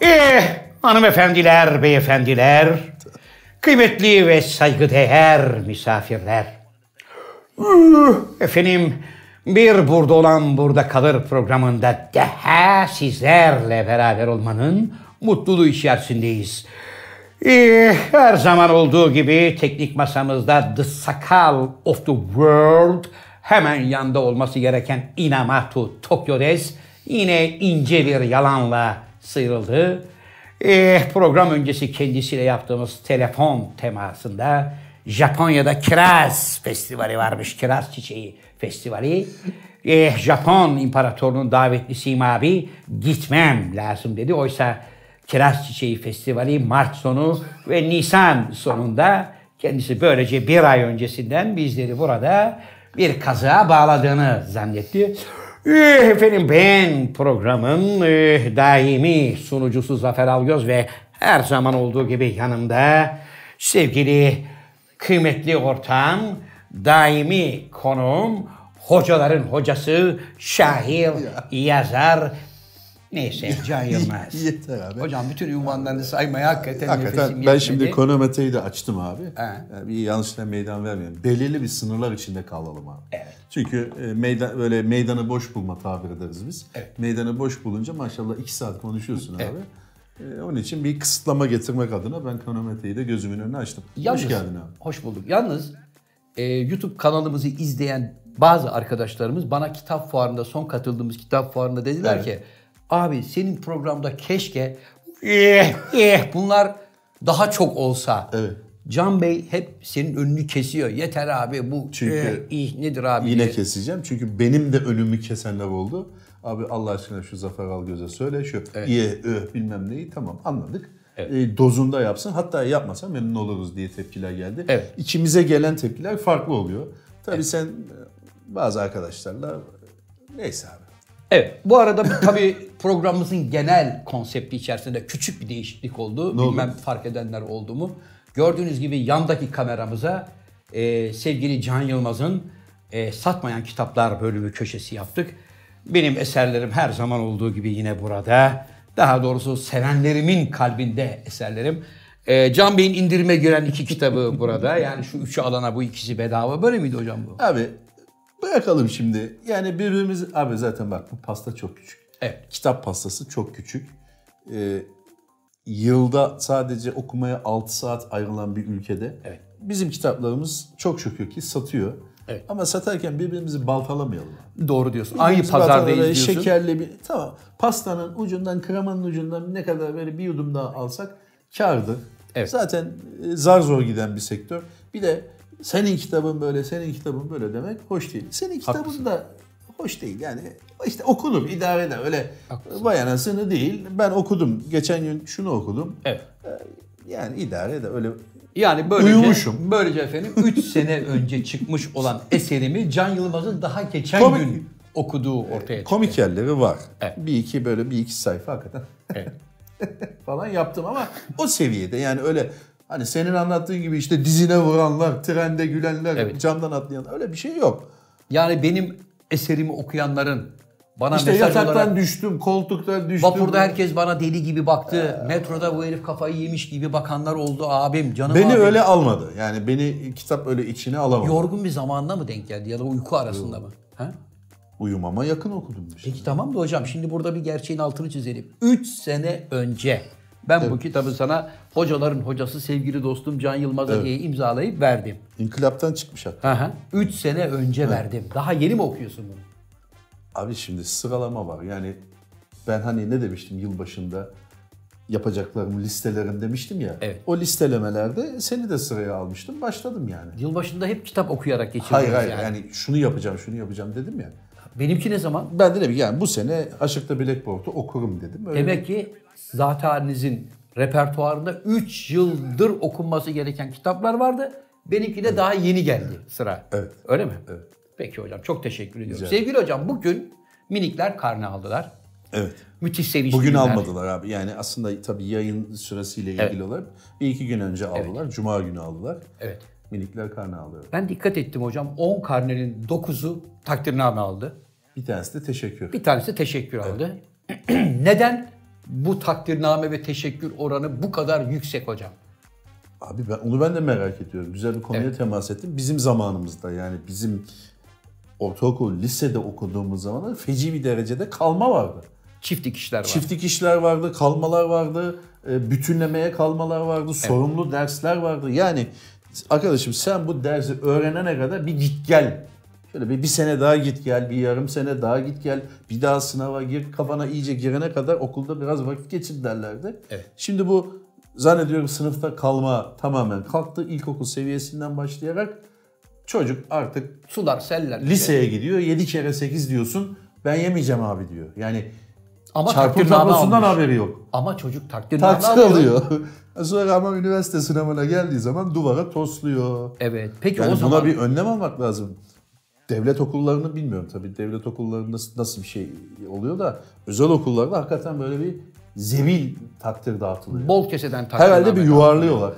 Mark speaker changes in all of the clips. Speaker 1: Eh, Hanımefendiler, beyefendiler, kıymetli ve saygıdeğer misafirler. Efendim, bir burada olan burada kalır programında daha sizlerle beraber olmanın mutluluğu içerisindeyiz. Ee, her zaman olduğu gibi teknik masamızda The Sakal of the World hemen yanda olması gereken Inamatu Tokyo'des yine ince bir yalanla sıyrıldı. Ee, program öncesi kendisiyle yaptığımız telefon temasında Japonya'da Kiraz Festivali varmış. Kiraz Çiçeği Festivali. Ee, Japon imparatorunun davetlisiyim abi gitmem lazım dedi. Oysa Kiraz Çiçeği Festivali Mart sonu ve Nisan sonunda kendisi böylece bir ay öncesinden bizleri burada bir kazığa bağladığını zannetti. Eh, Efendim ben programın eh, daimi sunucusu Zafer Algöz ve her zaman olduğu gibi yanımda sevgili kıymetli ortağım, daimi konuğum, hocaların hocası, şair, yazar, neyse Can Yılmaz.
Speaker 2: Yeter abi.
Speaker 1: Hocam bütün ünvanlarını saymaya hakikaten,
Speaker 2: Hakikaten
Speaker 1: nefesim
Speaker 2: ben
Speaker 1: yetmedi.
Speaker 2: şimdi konometreyi de açtım abi.
Speaker 1: Ha.
Speaker 2: Yani Bir yanlışla meydan vermeyelim. Belirli bir sınırlar içinde kalalım abi.
Speaker 1: Evet.
Speaker 2: Çünkü e, meydan böyle meydanı boş bulma tabir ederiz biz.
Speaker 1: Evet.
Speaker 2: Meydanı boş bulunca maşallah iki saat konuşuyorsun abi. E, onun için bir kısıtlama getirmek adına ben konometreyi de gözümün önüne açtım.
Speaker 3: Yalnız,
Speaker 2: Hoş geldin abi.
Speaker 3: Hoş bulduk. Yalnız e, YouTube kanalımızı izleyen bazı arkadaşlarımız bana kitap fuarında, son katıldığımız kitap fuarında dediler ki abi senin programda keşke
Speaker 1: Eh, eh.
Speaker 3: bunlar daha çok olsa.
Speaker 2: Evet.
Speaker 3: Can Bey hep senin önünü kesiyor. Yeter abi bu
Speaker 2: Çünkü
Speaker 3: eh, ih, nedir abi
Speaker 2: Yine
Speaker 3: diye.
Speaker 2: keseceğim çünkü benim de önümü kesenler oldu. Abi Allah aşkına şu Zafer Algöz'e söyle şu iyi ö bilmem neyi tamam anladık. E, dozunda yapsın hatta yapmasa memnun oluruz diye tepkiler geldi.
Speaker 3: Evet.
Speaker 2: İçimize gelen tepkiler farklı oluyor. Tabii sen e, bazı arkadaşlarla e, neyse abi.
Speaker 3: Evet. Bu arada bir- tabii programımızın genel konsepti içerisinde küçük bir değişiklik oldu. Bilmem fark edenler oldu mu? Gördüğünüz gibi yandaki kameramıza e, sevgili Can Yılmaz'ın e, Satmayan Kitaplar bölümü köşesi yaptık. Benim eserlerim her zaman olduğu gibi yine burada. Daha doğrusu sevenlerimin kalbinde eserlerim. E, Can Bey'in indirime giren iki kitabı burada. Yani şu üçü alana bu ikisi bedava. Böyle miydi hocam bu?
Speaker 2: Abi bırakalım şimdi. Yani birbirimiz abi zaten bak bu pasta çok küçük.
Speaker 3: Evet.
Speaker 2: Kitap pastası çok küçük. Ee, yılda sadece okumaya 6 saat ayrılan bir ülkede
Speaker 3: Evet.
Speaker 2: bizim kitaplarımız çok şükür ki satıyor.
Speaker 3: Evet.
Speaker 2: Ama satarken birbirimizi baltalamayalım. abi.
Speaker 3: Doğru diyorsun. Aynı
Speaker 2: Birbirimizi baltalamayalım.
Speaker 3: pazardayız diyorsun.
Speaker 2: Şekerli bir tamam. Pastanın ucundan kremanın ucundan ne kadar böyle bir yudum daha alsak kârdı.
Speaker 3: Evet.
Speaker 2: Zaten e, zar zor giden bir sektör. Bir de senin kitabın böyle, senin kitabın böyle demek hoş değil. Senin kitabın da hoş değil yani. işte okunur, idare eder. Öyle vay anasını değil. Ben okudum. Geçen gün şunu okudum.
Speaker 3: Evet.
Speaker 2: Yani idare eder. Öyle
Speaker 3: Yani böylece,
Speaker 2: Uyumuşum.
Speaker 3: böylece efendim 3 sene önce çıkmış olan eserimi Can Yılmaz'ın daha geçen
Speaker 2: Komik-
Speaker 3: gün okuduğu ortaya çıktı.
Speaker 2: komik yerleri var.
Speaker 3: Evet.
Speaker 2: Bir iki böyle bir iki sayfa hakikaten
Speaker 3: Evet.
Speaker 2: falan yaptım ama o seviyede yani öyle hani senin anlattığın gibi işte dizine vuranlar, trende gülenler,
Speaker 3: Evet.
Speaker 2: camdan atlayanlar öyle bir şey yok.
Speaker 3: Yani benim eserimi okuyanların bana
Speaker 2: İşte
Speaker 3: mesaj
Speaker 2: yataktan
Speaker 3: olarak
Speaker 2: düştüm, koltuktan düştüm.
Speaker 3: vapurda herkes bana deli gibi
Speaker 2: Ee,
Speaker 3: baktı. Metroda bu herif kafayı yemiş gibi bakanlar oldu abim canım
Speaker 2: Beni
Speaker 3: abim.
Speaker 2: öyle almadı. Yani beni kitap öyle içine alamadı.
Speaker 3: Yorgun bir zamanda mı denk geldi ya da uyku arasında mı? Ha?
Speaker 2: Uyumama yakın okudum şey. işte.
Speaker 3: Peki tamam da hocam şimdi burada bir gerçeğin altını çizelim. 3 sene önce ben bu kitabı sana hocaların hocası sevgili dostum Can Yılmaz'a diye imzalayıp verdim.
Speaker 2: İnkılaptan çıkmış hatta.
Speaker 3: 3 sene önce verdim. Daha yeni mi okuyorsun bunu?
Speaker 2: Abi şimdi sıralama var. Yani ben hani ne demiştim yılbaşında yapacaklarım listelerim demiştim ya.
Speaker 3: Evet.
Speaker 2: O listelemelerde seni de sıraya almıştım. Başladım yani.
Speaker 3: Yılbaşında hep kitap okuyarak geçiriyoruz
Speaker 2: Hayır hayır
Speaker 3: yani.
Speaker 2: yani. şunu yapacağım şunu yapacağım dedim ya.
Speaker 3: Benimki ne zaman?
Speaker 2: Ben de dedim ki, yani bu sene Aşık'ta Blackboard'u okurum dedim. Öyle
Speaker 3: Demek ki zatenizin repertuarında 3 yıldır okunması gereken kitaplar vardı. Benimki de daha yeni geldi sıra.
Speaker 2: Evet.
Speaker 3: Öyle mi? Evet. Peki hocam çok teşekkür ediyorum.
Speaker 2: Rica
Speaker 3: Sevgili hocam bugün minikler karne aldılar.
Speaker 2: Evet.
Speaker 3: Müthiş sevinçliyim.
Speaker 2: Bugün
Speaker 3: ben.
Speaker 2: almadılar abi. Yani aslında tabii yayın süresiyle ilgili olarak bir iki gün önce aldılar. Cuma günü aldılar.
Speaker 3: Evet.
Speaker 2: Minikler karnı alıyor.
Speaker 3: Ben dikkat ettim hocam. 10 karnenin 9'u takdirname aldı.
Speaker 2: Bir tanesi de teşekkür.
Speaker 3: Bir tanesi teşekkür aldı. Neden? bu takdirname ve teşekkür oranı bu kadar yüksek hocam?
Speaker 2: Abi ben onu ben de merak ediyorum. Güzel bir konuya temas ettim. Bizim zamanımızda yani bizim ortaokul, lisede okuduğumuz zamanlar feci bir derecede kalma vardı.
Speaker 3: Çift dikişler var.
Speaker 2: Çift dikişler vardı, kalmalar vardı, e, bütünlemeye kalmalar vardı, sorumlu dersler vardı. Yani arkadaşım sen bu dersi öğrenene kadar bir git gel. Şöyle bir, bir sene daha git gel, bir yarım sene daha git gel, bir daha sınava gir, kafana iyice girene kadar okulda biraz vakit geçir derlerdi.
Speaker 3: Evet.
Speaker 2: Şimdi bu zannediyorum sınıfta kalma tamamen kalktı. İlkokul seviyesinden başlayarak çocuk artık
Speaker 3: Sular, seller.
Speaker 2: liseye gidiyor. 7 kere 8 diyorsun. Ben yemeyeceğim abi diyor. Yani
Speaker 3: Ama
Speaker 2: çarpı
Speaker 3: takdirname
Speaker 2: tablosundan
Speaker 3: almış.
Speaker 2: haberi yok.
Speaker 3: Ama çocuk takdirname
Speaker 2: Taksi
Speaker 3: alıyor.
Speaker 2: alıyor. Sonra ama üniversite sınavına geldiği zaman duvara tosluyor.
Speaker 3: Evet. Peki
Speaker 2: Yani
Speaker 3: o
Speaker 2: buna
Speaker 3: zaman
Speaker 2: bir önlem almak lazım. Devlet okullarını bilmiyorum tabii. Devlet okullarında nasıl bir şey oluyor da özel okullarda hakikaten böyle bir zebil takdir dağıtılıyor.
Speaker 3: bol keseden takdirname.
Speaker 2: Herhalde bir yuvarlıyorlar.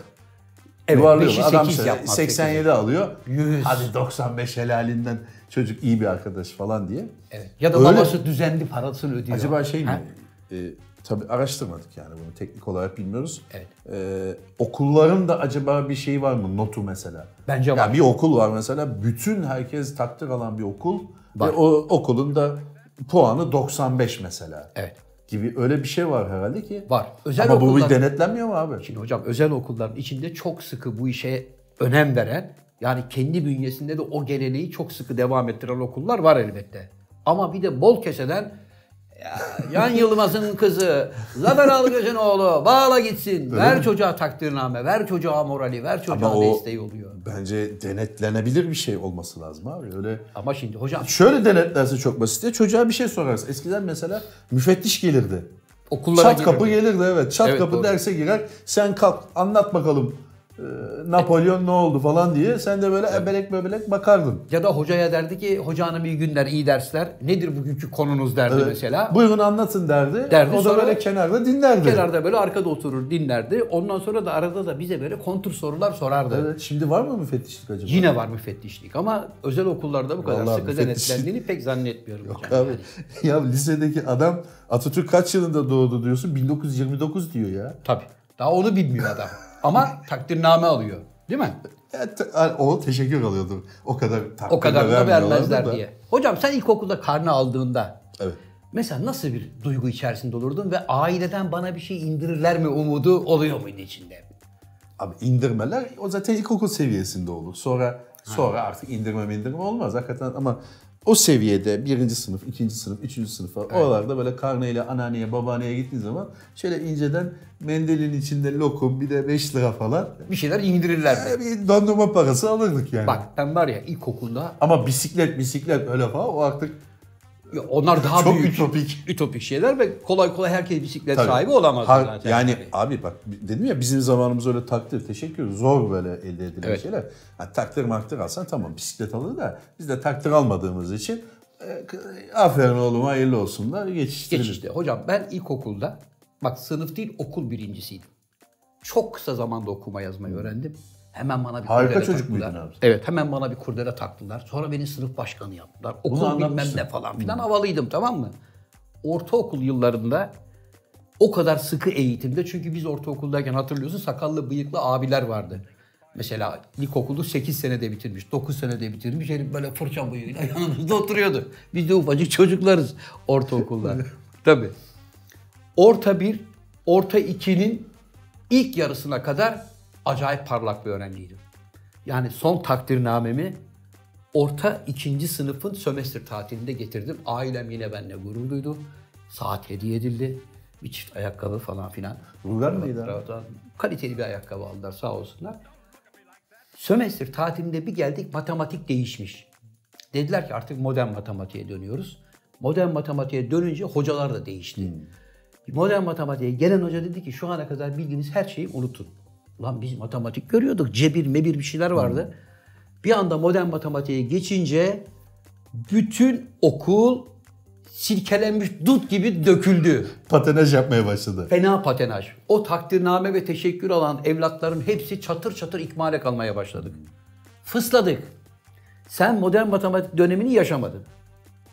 Speaker 3: Evet,
Speaker 2: yuvarlıyorlar.
Speaker 3: beşi
Speaker 2: Adam şey,
Speaker 3: sekiz
Speaker 2: şöyle
Speaker 3: yapmak,
Speaker 2: 87
Speaker 3: sekizi.
Speaker 2: alıyor.
Speaker 3: Yüz.
Speaker 2: Hadi 95 helalinden çocuk iyi bir arkadaş falan diye.
Speaker 3: Evet. Ya da
Speaker 2: Öyle.
Speaker 3: babası düzenli parasını ödüyor.
Speaker 2: Acaba şey
Speaker 3: Ha?
Speaker 2: mi? Ee, tabii araştırmadık yani bunu teknik olarak bilmiyoruz.
Speaker 3: Evet.
Speaker 2: Ee, okulların da acaba bir şey var mı? Notu mesela.
Speaker 3: Bence
Speaker 2: Ya
Speaker 3: var.
Speaker 2: bir okul var mesela bütün herkes takdir alan bir okul ve o okulun da puanı 95 mesela.
Speaker 3: Evet.
Speaker 2: Gibi öyle bir şey var herhalde ki.
Speaker 3: Var. Özel
Speaker 2: Ama bu
Speaker 3: okullar-
Speaker 2: bir denetlenmiyor mu abi?
Speaker 3: Şimdi hocam özel okulların içinde çok sıkı bu işe önem veren yani kendi bünyesinde de o geleneği çok sıkı devam ettiren okullar var elbette. Ama bir de bol keseden "Ya, Yan Yılmaz'ın kızı, Zafer Algöz'ün oğlu bağla gitsin. ver çocuğa takdirname, ver çocuğa morali, ver çocuğa
Speaker 2: Ama o-
Speaker 3: desteği oluyor.
Speaker 2: Bence denetlenebilir bir şey olması lazım abi. Öyle
Speaker 3: Ama şimdi hocam
Speaker 2: şöyle denetlerse çok basit ya çocuğa bir şey sorarsın. Eskiden mesela müfettiş gelirdi.
Speaker 3: okullara
Speaker 2: Çat
Speaker 3: giriyor.
Speaker 2: kapı gelirdi evet. Çat
Speaker 3: Evet,
Speaker 2: kapı
Speaker 3: doğru.
Speaker 2: derse girer. Sen kalk anlat bakalım e, Napolyon ne oldu falan diye. Sen de böyle ebelek bebelek bakardın.
Speaker 3: Ya da hocaya derdi ki hoca hanım iyi günler, iyi dersler. Nedir bugünkü konunuz derdi mesela.
Speaker 2: Buyurun anlatın derdi.
Speaker 3: Derdi,
Speaker 2: o da
Speaker 3: sonra-
Speaker 2: böyle kenarda dinlerdi.
Speaker 3: Kenarda böyle arkada oturur dinlerdi. Ondan sonra da arada da bize böyle kontur sorular sorardı.
Speaker 2: Evet, şimdi var mı müfettişlik acaba?
Speaker 3: Yine var müfettişlik ama özel okullarda bu kadar
Speaker 2: Vallahi
Speaker 3: sıkı
Speaker 2: müfettişlik-
Speaker 3: denetlendiğini pek zannetmiyorum.
Speaker 2: Yok
Speaker 3: hocam.
Speaker 2: abi. ya lisedeki adam Atatürk kaç yılında doğdu diyorsun? 1929 diyor ya.
Speaker 3: Tabii. Daha onu bilmiyor adam. Ama takdirname alıyor. Değil mi?
Speaker 2: Ya te- o teşekkür alıyordu. O kadar takdir
Speaker 3: O kadar da
Speaker 2: vermiyorlardı
Speaker 3: vermezler
Speaker 2: da.
Speaker 3: diye. Hocam sen ilkokulda karne aldığında
Speaker 2: Evet.
Speaker 3: mesela nasıl bir duygu içerisinde olurdun ve aileden bana bir şey indirirler mi umudu oluyor muydu içinde?
Speaker 2: Abi indirmeler o zaten ilkokul seviyesinde olur. Sonra sonra artık indirme indirme olmaz hakikaten ama o seviyede birinci sınıf, ikinci sınıf, üçüncü sınıf falan oralarda böyle karneyle anneanneye, babaanneye gittiğin zaman şöyle inceden mendilin içinde lokum bir de 5 lira falan
Speaker 3: Bir şeyler indirirler mi?
Speaker 2: böyle bir dondurma parası alırdık yani.
Speaker 3: Bak ben var ya ilkokulda
Speaker 2: Ama bisiklet bisiklet öyle falan o artık
Speaker 3: ya onlar daha
Speaker 2: çok
Speaker 3: büyük
Speaker 2: ütopik.
Speaker 3: ütopik şeyler ve kolay kolay herkes bisiklet
Speaker 2: Tabii.
Speaker 3: sahibi olamaz
Speaker 2: Har-
Speaker 3: zaten.
Speaker 2: Yani abi bak dedim ya bizim zamanımız öyle takdir, teşekkür zor böyle elde edilen
Speaker 3: Evet.
Speaker 2: şeyler. Ha, takdir makdir alsan tamam bisiklet alır da biz de takdir almadığımız için e, k- aferin oğlum hayırlı olsunlar geçiştirilir.
Speaker 3: Geçişte. Hocam ben ilkokulda bak sınıf değil okul birincisiydim. Çok kısa zamanda okuma yazmayı öğrendim. Hemen bana bir
Speaker 2: Harika
Speaker 3: kurdele
Speaker 2: çocuk
Speaker 3: taktılar.
Speaker 2: muydun abi?
Speaker 3: Evet hemen bana bir kurdele taktılar. Sonra beni sınıf başkanı yaptılar. Okul bilmem
Speaker 2: anlatmıştın.
Speaker 3: ne falan filan havalıydım tamam mı? Ortaokul yıllarında o kadar sıkı eğitimde çünkü biz ortaokuldayken hatırlıyorsun sakallı bıyıklı abiler vardı. Mesela ilkokulu 8 senede bitirmiş, 9 senede bitirmiş. Herif böyle fırça bıyığıyla yanımızda oturuyordu. Biz de ufacık çocuklarız ortaokulda. Tabii. Orta 1, orta 2'nin ilk yarısına kadar acayip parlak bir öğrenciydim. Yani son takdirnamemi orta ikinci sınıfın sömestr tatilinde getirdim. Ailem yine benimle gurur duydu. Saat hediye edildi. Bir çift ayakkabı falan filan.
Speaker 2: Ruler miydi abi?
Speaker 3: Kravat aldım. Kaliteli bir ayakkabı aldılar sağ olsunlar. Sömestr tatilimde bir geldik matematik değişmiş. Dediler ki artık modern matematiğe dönüyoruz. Modern matematiğe dönünce hocalar da değişti. Modern matematiğe gelen hoca dedi ki şu ana kadar bildiğiniz her şeyi unutun. Lan biz matematik görüyorduk. Cebir mebir bir şeyler vardı. Bir anda modern matematiğe geçince bütün okul silkelenmiş dut gibi döküldü.
Speaker 2: Patenaj yapmaya başladı.
Speaker 3: Fena patenaj. O takdirname ve teşekkür alan evlatların hepsi çatır çatır ikmale kalmaya başladık. Fısladık. Sen modern matematik dönemini yaşamadın.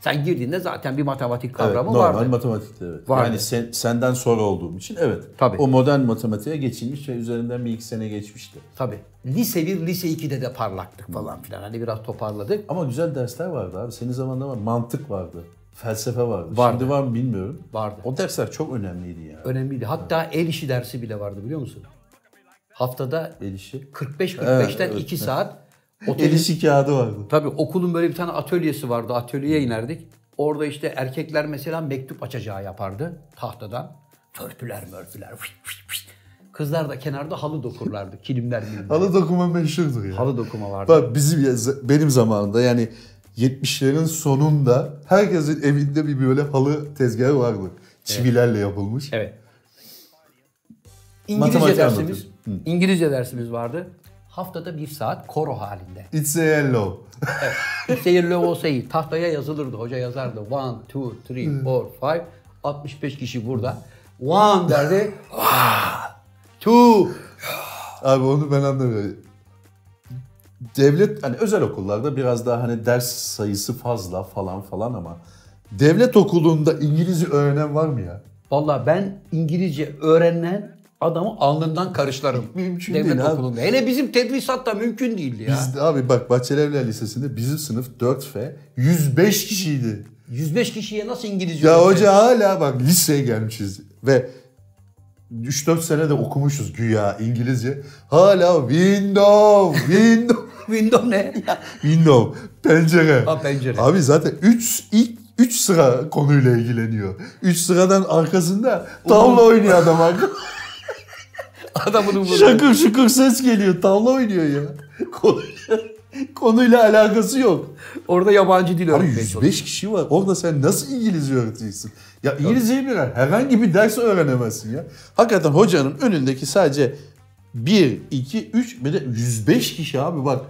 Speaker 3: Sen girdiğinde zaten bir matematik
Speaker 2: Evet,
Speaker 3: kavramı
Speaker 2: normal
Speaker 3: vardı.
Speaker 2: matematikte evet.
Speaker 3: Vardı.
Speaker 2: Yani sen- senden sonra olduğum için evet.
Speaker 3: Tabii.
Speaker 2: O modern matematiğe geçilmiş ve üzerinden bir iki sene geçmişti.
Speaker 3: Tabii. Lise 1, lise 2'de de parlaktık falan filan. Hani biraz toparladık.
Speaker 2: Ama güzel dersler vardı abi. Senin zamanında var. Mantık vardı. Felsefe vardı.
Speaker 3: Vardı.
Speaker 2: Şimdi var mı bilmiyorum.
Speaker 3: Vardı.
Speaker 2: O dersler çok önemliydi yani.
Speaker 3: Önemliydi. Hatta el işi dersi bile vardı biliyor musun? Haftada
Speaker 2: El işi.
Speaker 3: 45-45'ten
Speaker 2: Evet, evet,
Speaker 3: 2 saat
Speaker 2: El
Speaker 3: otobüs
Speaker 2: işi kağıdı vardı.
Speaker 3: Tabii okulun böyle bir tane atölyesi vardı. Atölyeye inerdik. Orada işte erkekler mesela mektup açacağı yapardı tahtadan. Törpüler mörpüler. fış fış fış. Kızlar da kenarda halı dokurlardı. Kilimler milimler.
Speaker 2: Halı dokuma meşhurdur ya.
Speaker 3: Halı dokuma vardı.
Speaker 2: Bak bizim ya- benim zamanımda yani 70'lerin sonunda herkesin evinde bir böyle halı tezgahı vardı. Çivilerle yapılmış.
Speaker 3: Evet.
Speaker 2: Matematik
Speaker 3: İngilizce dersimiz,
Speaker 2: anlatıyorum.
Speaker 3: İngilizce dersimiz vardı. Haftada bir saat koro halinde.
Speaker 2: It's a yellow.
Speaker 3: Seyirli olsa iyi. Tahtaya yazılırdı. Hoca yazardı. One, two, three, four, five. 65 kişi burada. One derdi. two.
Speaker 2: Abi onu ben anlamıyorum. Devlet hani özel okullarda biraz daha hani ders sayısı fazla falan falan ama devlet okulunda İngilizce öğrenen var mı ya?
Speaker 3: Valla ben İngilizce öğrenen adamı alnından karışlarım.
Speaker 2: Mümkün
Speaker 3: Devlet
Speaker 2: değil abi.
Speaker 3: okulunda. Hele bizim tedrisatta mümkün değildi ya.
Speaker 2: Biz abi bak Bahçelievler Lisesi'nde bizim sınıf 4F 105 kişiydi.
Speaker 3: 105 kişiye nasıl İngilizce
Speaker 2: Ya
Speaker 3: öğreteceğiz?
Speaker 2: hoca hala bak liseye gelmişiz ve 3-4 sene de okumuşuz güya İngilizce. Hala window, window,
Speaker 3: Windows ne?
Speaker 2: window, pencere.
Speaker 3: Ha, pencere.
Speaker 2: Abi zaten 3 ilk 3 sıra konuyla ilgileniyor. 3 sıradan arkasında tavla oynuyor adam. arka-
Speaker 3: Adamını vurdu.
Speaker 2: şakır şıkır ses geliyor. Tavla oynuyor ya. Konuyla, konuyla alakası yok.
Speaker 3: Orada yabancı dil
Speaker 2: Abi
Speaker 3: öğretmeye çalışıyor.
Speaker 2: 105 kişi var. Orada sen nasıl İngilizce öğreteceksin? Ya İngilizceyi bilen herhangi bir ders öğrenemezsin ya. Hakikaten hocanın önündeki sadece 1, 2, 3 bir de 105 kişi abi bak.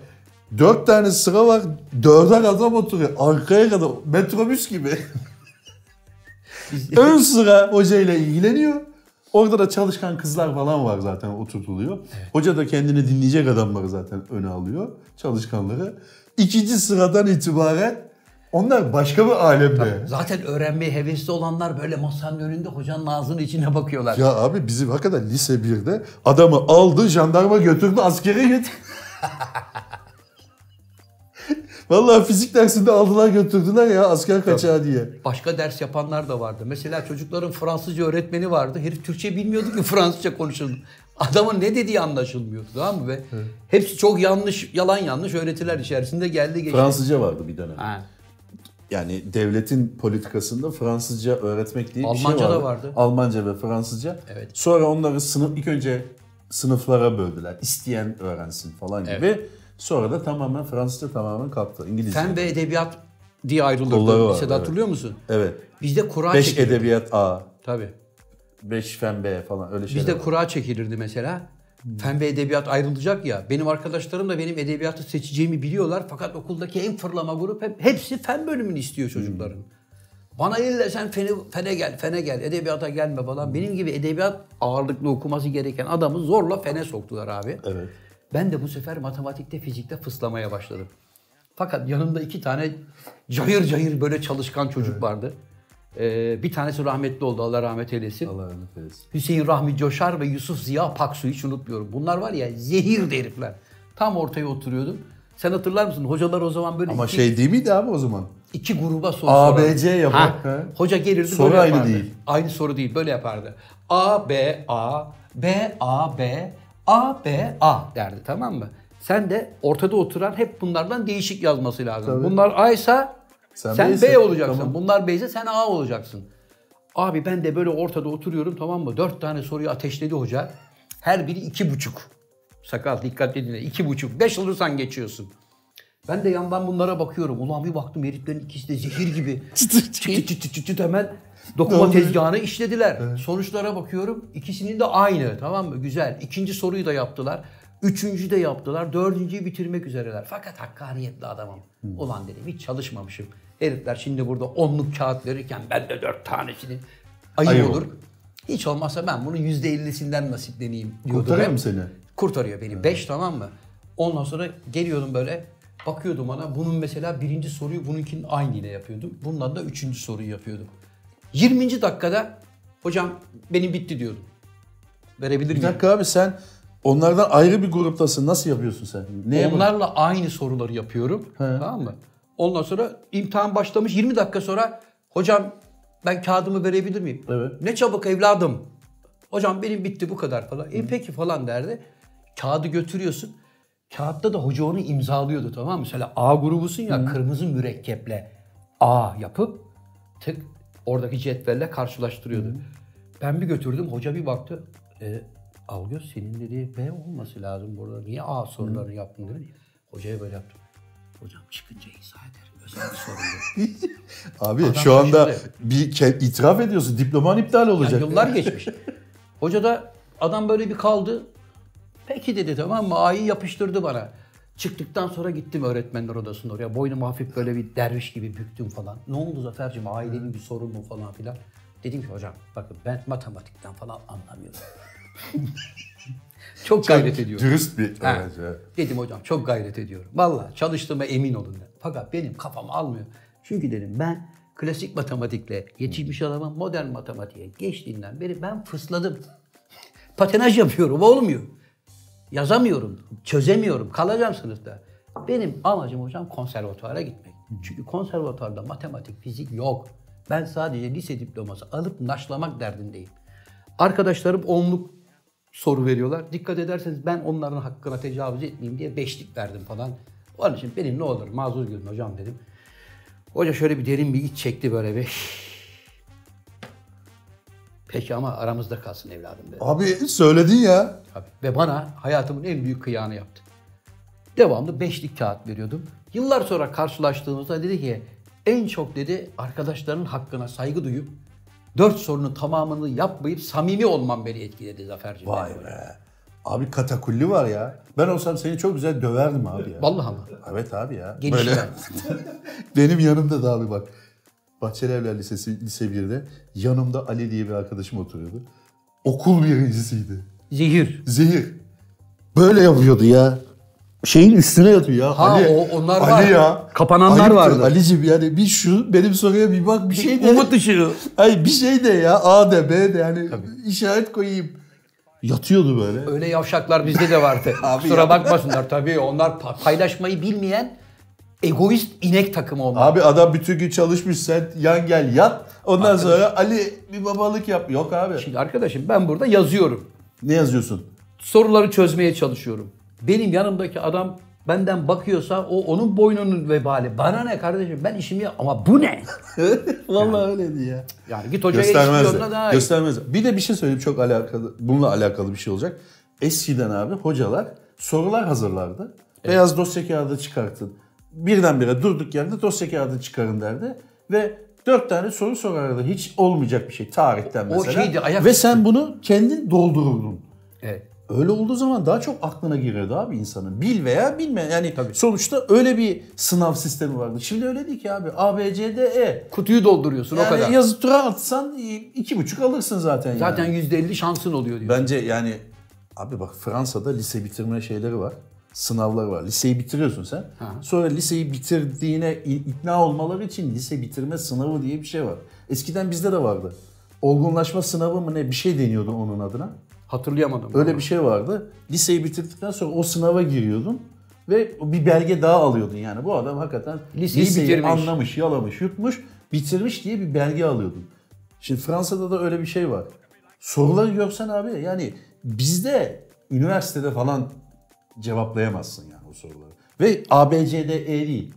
Speaker 2: 4 tane sıra var. 4'er adam oturuyor. Arkaya kadar metrobüs gibi. Ön sıra hocayla ilgileniyor. Orada da çalışkan kızlar falan var zaten oturtuluyor. Hoca da kendini dinleyecek adamları zaten öne alıyor. Çalışkanları. İkinci sıradan itibaren onlar başka bir alemde.
Speaker 3: Zaten öğrenmeye hevesli olanlar böyle masanın önünde hocanın ağzının içine bakıyorlar.
Speaker 2: Ya abi bizim hakikaten lise 1'de adamı aldı jandarma götürdü askere getirdi. Vallahi fizik dersinde aldılar götürdüler ya asker kaçağı diye.
Speaker 3: Başka ders yapanlar da vardı. Mesela çocukların Fransızca öğretmeni vardı. Herif Türkçe bilmiyordu ki Fransızca konuşuldu. Adamın ne dediği anlaşılmıyordu tamam mı? Ve hepsi çok yanlış, yalan yanlış öğretiler içerisinde geldi geçti.
Speaker 2: Fransızca vardı bir dönem.
Speaker 3: Ha.
Speaker 2: Yani devletin politikasında Fransızca öğretmek diye bir
Speaker 3: Almanca
Speaker 2: şey
Speaker 3: da
Speaker 2: vardı.
Speaker 3: vardı.
Speaker 2: Almanca ve Fransızca.
Speaker 3: Evet.
Speaker 2: Sonra onları sınıf ilk önce sınıflara böldüler. İsteyen öğrensin falan gibi. Sonra da tamamen Fransızca tamamen kalktı. İngilizce.
Speaker 3: Fen ve edebiyat diye
Speaker 2: Kolları
Speaker 3: ayrılırdı.
Speaker 2: var,
Speaker 3: Lisede
Speaker 2: evet.
Speaker 3: hatırlıyor musun?
Speaker 2: Evet.
Speaker 3: Bizde kura
Speaker 2: 5
Speaker 3: çekilirdi.
Speaker 2: edebiyat A,
Speaker 3: Tabii.
Speaker 2: 5 fen B falan öyle şeyler.
Speaker 3: Bizde
Speaker 2: var. Hmm.
Speaker 3: kura çekilirdi mesela. Fen ve edebiyat ayrılacak ya. Benim arkadaşlarım da benim edebiyatı seçeceğimi biliyorlar. Fakat okuldaki en fırlama grup hep, hepsi fen bölümünü istiyor
Speaker 2: Hmm.
Speaker 3: çocukların. Bana illa sen fene, fene gel, fene gel, edebiyata gelme falan. Benim gibi edebiyat ağırlıklı okuması gereken adamı zorla fene soktular abi.
Speaker 2: Evet.
Speaker 3: Ben de bu sefer matematikte, fizikte fıslamaya başladım. Fakat yanımda iki tane cayır cayır böyle çalışkan çocuk vardı. Ee, bir tanesi rahmetli oldu, Allah rahmet eylesin.
Speaker 2: Allah rahmet eylesin.
Speaker 3: Hüseyin Rahmi Coşar ve Yusuf Ziya Paksu hiç unutmuyorum. Bunlar var ya zehir de herifler. Tam ortaya oturuyordum. Sen hatırlar mısın? Hocalar o zaman böyle
Speaker 2: Ama
Speaker 3: iki,
Speaker 2: şey değil miydi abi o zaman?
Speaker 3: iki gruba soru
Speaker 2: A, B,
Speaker 3: sorardı.
Speaker 2: C yapar.
Speaker 3: Ha,
Speaker 2: He.
Speaker 3: Hoca gelirdi
Speaker 2: Soru
Speaker 3: böyle
Speaker 2: aynı
Speaker 3: yapardı.
Speaker 2: değil.
Speaker 3: Aynı soru değil böyle yapardı. A, B, A, B, A, B, A, B, A derdi tamam mı? Sen de ortada oturan hep bunlardan değişik yazması lazım. Bunlar A ise sen,
Speaker 2: Sen
Speaker 3: B,
Speaker 2: B'ysen,
Speaker 3: olacaksın. Bunlar B ise sen A olacaksın. Abi ben de böyle ortada oturuyorum tamam mı? Dört tane soruyu ateşledi hoca. Her biri iki buçuk. Sakal dikkatli dinle. iki buçuk. Beş olursan geçiyorsun. Ben de yandan bunlara bakıyorum. Ulan bir baktım heriflerin ikisi de zehir gibi. çıt çıt çıt çıt çıt hemen dokuma tezgahını işlediler. Sonuçlara bakıyorum. İkisinin de aynı tamam mı? Güzel. İkinci soruyu da yaptılar. Üçüncü de yaptılar. Dördüncüyü bitirmek üzereler. Fakat hakkaniyetli adamım. Ulan dedim hiç çalışmamışım. Herifler şimdi burada onluk kağıt verirken ben de dört tanesini ayıp,
Speaker 2: Ayıp
Speaker 3: olur.
Speaker 2: olur.
Speaker 3: Hiç olmazsa ben bunun yüzde ellisinden nasipleneyim diyordum.
Speaker 2: Kurtarıyor
Speaker 3: hep.
Speaker 2: mu seni?
Speaker 3: Kurtarıyor beni. 5 tamam mı? Ondan sonra geliyordum böyle. Bakıyordum ona bunun mesela birinci soruyu bununkinin aynıyla yapıyordum. Bundan da üçüncü soruyu yapıyordum. 20. dakikada hocam benim bitti diyordum. Verebilir
Speaker 2: Bir
Speaker 3: miyim?
Speaker 2: dakika abi sen onlardan ayrı bir gruptasın. Nasıl yapıyorsun sen? Neye bak-
Speaker 3: Onlarla aynı soruları yapıyorum. Tamam mı? Ondan sonra imtihan başlamış 20 dakika sonra hocam ben kağıdımı verebilir miyim?
Speaker 2: Evet.
Speaker 3: Ne çabuk evladım. Hocam benim bitti bu kadar falan. E peki falan derdi. Kağıdı götürüyorsun. Kağıtta da hoca onu imzalıyordu tamam mı? Mesela A grubusun ya kırmızı mürekkeple A yapıp tık oradaki cetvelle karşılaştırıyordu. Ben bir götürdüm hoca bir baktı. E, Algöz senin dedi B olması lazım burada. Niye A sorularını yaptın dedi. Hocaya böyle yaptım. Hocam çıkınca izah ederim. Özel bir sorun değil.
Speaker 2: Abi
Speaker 3: Adam
Speaker 2: şu anda
Speaker 3: şaşırdı.
Speaker 2: bir ke- itiraf ediyorsun. Diploman iptal
Speaker 3: Yani
Speaker 2: olacak.
Speaker 3: yıllar geçmiş. Hoca da adam böyle bir kaldı. Peki dedi tamam mı? A'yı yapıştırdı bana. Çıktıktan sonra gittim öğretmenler odasında oraya. Boynumu hafif böyle bir derviş gibi büktüm falan. Ne oldu Zafer'cim? Ailenin bir sorun mu falan filan. Dedim ki hocam bakın ben matematikten falan anlamıyorum. Çok gayret ediyorum.
Speaker 2: Dürüst bir
Speaker 3: Ha.
Speaker 2: öğrenci. evet.
Speaker 3: Dedim hocam çok gayret ediyorum. Vallahi çalıştığıma emin olun dedim. Fakat benim kafam almıyor. Çünkü dedim ben klasik matematikle yetişmiş adamım modern matematiğe geçtiğinden beri ben fısladım. Patinaj yapıyorum olmuyor. Yazamıyorum, çözemiyorum, kalacağım sınıfta. Benim amacım hocam konservatuara gitmek. Çünkü konservatuarda matematik, fizik yok. Ben sadece lise diploması alıp naşlamak derdindeyim. Arkadaşlarım onluk soru veriyorlar. Dikkat ederseniz ben onların hakkına tecavüz etmeyeyim diye beşlik verdim falan. Onun için benim ne olur mazur görün hocam dedim. Hoca şöyle bir derin bir iç çekti böyle bir. Peki ama aramızda kalsın evladım dedi.
Speaker 2: Abi söyledin ya.
Speaker 3: Tabii. Ve bana hayatımın en büyük kıyağını yaptı. Devamlı beşlik kağıt veriyordum. Yıllar sonra karşılaştığımızda dedi ki en çok dedi arkadaşların hakkına saygı duyup dört sorunun tamamını yapmayıp samimi olmam beni etkiledi Zafer'cim.
Speaker 2: Vay be. Abi katakulli var ya. Ben olsam seni çok güzel döverdim abi ya.
Speaker 3: Vallahi ama.
Speaker 2: Evet abi ya.
Speaker 3: Gelişler.
Speaker 2: Böyle- Benim yanımda da abi bak. Bahçeli Evler Lisesi, lise 1'de yanımda Ali diye bir arkadaşım oturuyordu. Okul birincisiydi.
Speaker 3: Zehir.
Speaker 2: Zehir. Böyle yapıyordu ya. Şeyin üstüne yatıyor ya.
Speaker 3: Ha,
Speaker 2: Ali,
Speaker 3: o- onlar
Speaker 2: Ali
Speaker 3: var.
Speaker 2: ya.
Speaker 3: Kapananlar
Speaker 2: Ayıptır
Speaker 3: vardı.
Speaker 2: Ali'cim yani bir şu benim soruya bir bak bir şey de.
Speaker 3: Umut ışığı.
Speaker 2: Ay bir şey de ya. A de B de yani işaret koyayım. Yatıyordu böyle.
Speaker 3: Öyle yavşaklar bizde de vardı.
Speaker 2: Abi
Speaker 3: Kusura
Speaker 2: ya.
Speaker 3: bakmasınlar tabii. Onlar pa- paylaşmayı bilmeyen egoist inek takımı onlar.
Speaker 2: Abi adam bütün gün çalışmış sen yan gel yat. Ondan sonra Ali bir babalık yap. Yok abi.
Speaker 3: Şimdi arkadaşım ben burada yazıyorum.
Speaker 2: Ne yazıyorsun?
Speaker 3: Soruları çözmeye çalışıyorum. Benim yanımdaki adam benden bakıyorsa o onun boynunun vebali. Bana ne kardeşim ben işimi yap- ama bu ne?
Speaker 2: Vallahi öyleydi ya.
Speaker 3: Yani git hocaya
Speaker 2: Göstermezdi.
Speaker 3: istiyorsan daha iyi.
Speaker 2: Göstermezdi. Bir de bir şey söyleyeyim çok alakalı, bununla alakalı bir şey olacak. Eskiden abi hocalar sorular hazırlardı. Beyaz dosya kağıdı çıkartın. Birdenbire durduk yerde dosya kağıdı çıkarın derdi. Ve dört tane soru sorardı. Hiç olmayacak bir şey. Tarihten
Speaker 3: O
Speaker 2: mesela.
Speaker 3: şeydi, ayak-
Speaker 2: Ve sen bunu kendin doldururdun.
Speaker 3: Evet.
Speaker 2: Öyle olduğu zaman daha çok aklına giriyordu abi insanın. Bil veya bilme. Yani sonuçta öyle bir sınav sistemi vardı. Şimdi öyle değil ki abi. A, B, C, D, E.
Speaker 3: Kutuyu dolduruyorsun o
Speaker 2: Yani
Speaker 3: kadar.
Speaker 2: yazı tura atsan iki buçuk alırsın zaten.
Speaker 3: Zaten
Speaker 2: yani.
Speaker 3: %50 şansın oluyor diyor.
Speaker 2: Bence yani abi bak Fransa'da lise bitirme şeyleri var. Sınavları var. Liseyi bitiriyorsun sen. Sonra liseyi bitirdiğine i- ikna olmaları için lise bitirme sınavı diye bir şey var. Eskiden bizde de vardı. Olgunlaşma sınavı mı ne bir şey deniyordu onun adına.
Speaker 3: Hatırlayamadım.
Speaker 2: Öyle bir şey vardı. Liseyi bitirdikten sonra o sınava giriyordun ve bir belge daha alıyordun yani. Bu adam hakikaten
Speaker 3: Liseyi
Speaker 2: liseyi,
Speaker 3: bitirmiş.
Speaker 2: anlamış, yalamış, yutmuş, bitirmiş diye bir belge alıyordun. Şimdi Fransa'da da öyle bir şey var. Soruları görsen abi yani bizde üniversitede falan cevaplayamazsın yani o soruları. Ve ABCDE E değil.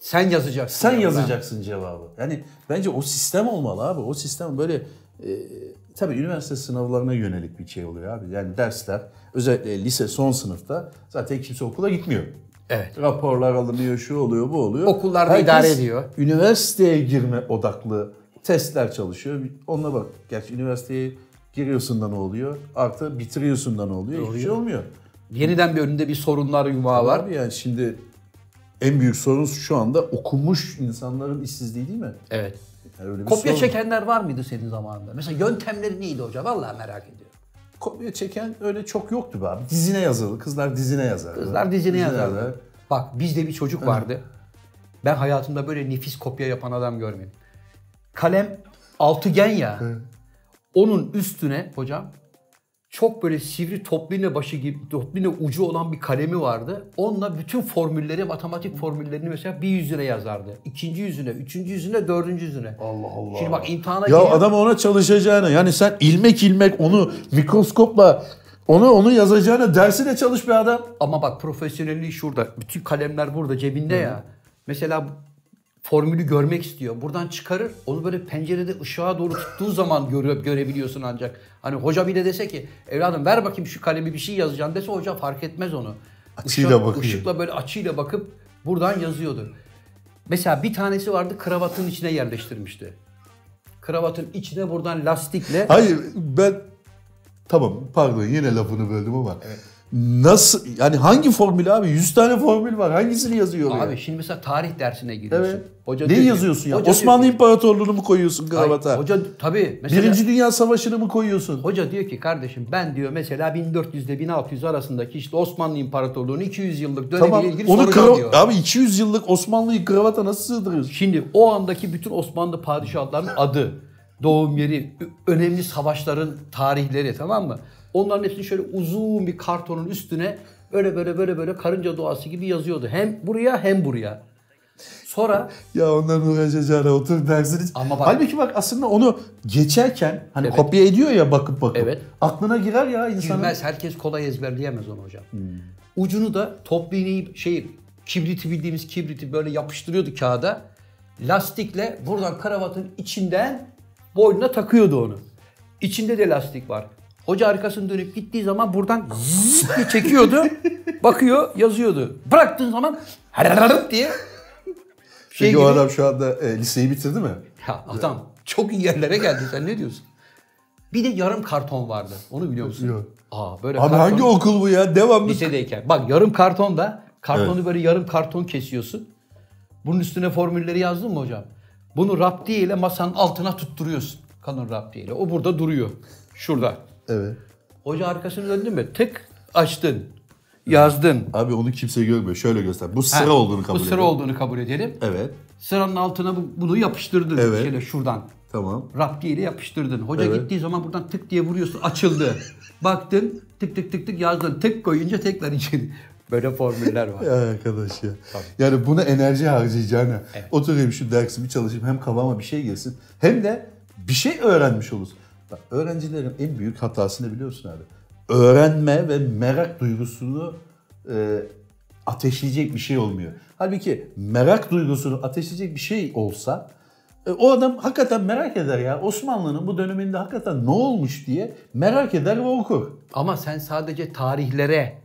Speaker 3: Sen yazacaksın.
Speaker 2: Sen
Speaker 3: ya.
Speaker 2: yazacaksın cevabı. Yani bence o sistem olmalı abi. O sistem böyle e, tabii üniversite sınavlarına yönelik bir şey oluyor abi. Yani dersler özellikle lise son sınıfta zaten kimse okula gitmiyor.
Speaker 3: Evet.
Speaker 2: Raporlar alınıyor, şu oluyor, bu oluyor.
Speaker 3: Okullarda
Speaker 2: Herkes
Speaker 3: idare ediyor.
Speaker 2: Üniversiteye girme odaklı testler çalışıyor. Onunla bak. Gerçi üniversiteye giriyorsun da ne oluyor? Artı bitiriyorsun da ne oluyor? Hiçbir şey olmuyor.
Speaker 3: Yeniden bir önünde bir sorunlar yumağı var.
Speaker 2: Abi yani şimdi en büyük sorun şu anda okumuş insanların işsizliği değil mi?
Speaker 3: Evet.
Speaker 2: Yani öyle bir şey
Speaker 3: Kopya
Speaker 2: sorun.
Speaker 3: çekenler var mıydı senin zamanında? Mesela yöntemleri neydi hoca? Vallahi merak ediyorum.
Speaker 2: Kopya çeken öyle çok yoktu be abi. Dizine yazıldı. Kızlar dizine yazardı.
Speaker 3: Kızlar dizine yazardı. Bak bizde bir çocuk vardı. Ben hayatımda böyle nefis kopya yapan adam görmedim. Kalem altıgen ya. Onun üstüne hocam çok böyle sivri topline başı gibi topline ucu olan bir kalemi vardı. Onunla bütün formülleri, matematik formüllerini mesela bir yüzüne yazardı. İkinci yüzüne, üçüncü yüzüne, dördüncü yüzüne.
Speaker 2: Allah Allah.
Speaker 3: Şimdi bak imtihana
Speaker 2: Ya
Speaker 3: giriyor.
Speaker 2: adam ona çalışacağına yani sen ilmek ilmek onu mikroskopla onu onu yazacağına dersiyle çalış bir adam.
Speaker 3: Ama bak profesyonelliği şurada. Bütün kalemler burada cebinde ya. Mesela bu- formülü görmek istiyor. Buradan çıkarır. Onu böyle pencerede ışığa doğru tuttuğu zaman göre, görebiliyorsun ancak. Hani hoca bile dese ki evladım ver bakayım şu kalemi bir şey yazacaksın dese hoca fark etmez onu.
Speaker 2: Açıyla bakıyor.
Speaker 3: Işıkla böyle açıyla bakıp buradan yazıyordu. Mesela bir tanesi vardı kravatın içine yerleştirmişti. Kravatın içine buradan lastikle
Speaker 2: Hayır ben tamam pardon yine lafını böldüm ama. Nasıl yani hangi formül abi? 100 tane formül var. Hangisini yazıyor
Speaker 3: Abi
Speaker 2: ya?
Speaker 3: şimdi mesela tarih dersine giriyorsun.
Speaker 2: Evet.
Speaker 3: Hoca
Speaker 2: ne
Speaker 3: diyor ki-
Speaker 2: yazıyorsun ya?
Speaker 3: Hoca
Speaker 2: Osmanlı
Speaker 3: diyor ki-
Speaker 2: İmparatorluğu'nu mu koyuyorsun kravata?
Speaker 3: Hayır, hoca tabii mesela
Speaker 2: Birinci Dünya Savaşı'nı mı koyuyorsun?
Speaker 3: hoca diyor ki kardeşim ben diyor mesela 1400 ile 1600 arasındaki işte Osmanlı İmparatorluğu'nun 200 yıllık dönemiyle
Speaker 2: Tamam.
Speaker 3: ilgili
Speaker 2: Onu
Speaker 3: soracağım
Speaker 2: krav-
Speaker 3: diyor.
Speaker 2: abi 200 yıllık Osmanlı'yı kravata nasıl sığdırıyorsun?
Speaker 3: Şimdi o andaki bütün Osmanlı padişahlarının adı, doğum yeri, ö- önemli savaşların tarihleri tamam mı? Onların hepsini şöyle uzun bir kartonun üstüne böyle böyle böyle böyle karınca doğası gibi yazıyordu. Hem buraya hem buraya. Sonra
Speaker 2: Ya onların uğraşacağına otur dersiniz.
Speaker 3: Ama bak-
Speaker 2: Halbuki bak aslında onu geçerken hani kopya ediyor ya bakıp bakıp.
Speaker 3: Evet.
Speaker 2: Aklına girer ya insanın.
Speaker 3: Bilmez. Herkes kolay ezberleyemez onu hocam.
Speaker 2: Hmm.
Speaker 3: Ucunu da top iğneyi şey kibriti bildiğimiz kibriti böyle yapıştırıyordu kağıda. Lastikle buradan kravatın içinden boynuna takıyordu onu. İçinde de lastik var. Hoca arkasını dönüp gittiği zaman buradan zzz diye çekiyordu. bakıyor yazıyordu. Bıraktığın zaman harararıp diye şey
Speaker 2: Peki
Speaker 3: gibi.
Speaker 2: o adam şu anda e, liseyi bitirdi mi?
Speaker 3: Ya adam çok iyi yerlere geldi sen ne diyorsun? Bir de yarım karton vardı. Onu biliyor musun?
Speaker 2: Yok.
Speaker 3: Aa böyle
Speaker 2: Abi
Speaker 3: karton-
Speaker 2: hangi okul bu ya? Devamlı.
Speaker 3: lisedeyken. Bak yarım karton da kartonu böyle yarım karton kesiyorsun. Bunun üstüne formülleri yazdın mı hocam? Bunu raptiye ile masanın altına tutturuyorsun. Kanun raptiye ile. O burada duruyor. Şurada.
Speaker 2: Evet.
Speaker 3: Hoca arkasını döndün mü? Tık açtın. Yazdın.
Speaker 2: Abi onu kimse görmüyor. Şöyle göster. Bu sıra
Speaker 3: Ha,
Speaker 2: olduğunu kabul
Speaker 3: Bu sıra
Speaker 2: ediyor.
Speaker 3: olduğunu kabul edelim.
Speaker 2: Evet.
Speaker 3: Sıranın altına bu- bunu yapıştırdın.
Speaker 2: Evet.
Speaker 3: Şöyle şuradan.
Speaker 2: Tamam.
Speaker 3: Raptiye ile yapıştırdın. Hoca
Speaker 2: Evet.
Speaker 3: gittiği zaman buradan tık diye vuruyorsun. Açıldı. Baktın tık tık tık tık yazdın. Tık koyunca tekrar içeri. Böyle formüller var.
Speaker 2: Ya Ee, arkadaş ya. Yani buna enerji harcayacağına oturayım şu dersimi çalışayım hem kafama bir şey gelsin hem de bir şey öğrenmiş olursun. Bak, öğrencilerin en büyük hatası ne biliyorsun abi? Öğrenme ve merak duygusunu e, ateşleyecek bir şey olmuyor. Halbuki merak duygusunu ateşleyecek bir şey olsa e, o adam hakikaten merak eder ya. Osmanlı'nın bu döneminde hakikaten ne olmuş diye merak eder ve okur.
Speaker 3: Ama sen sadece tarihlere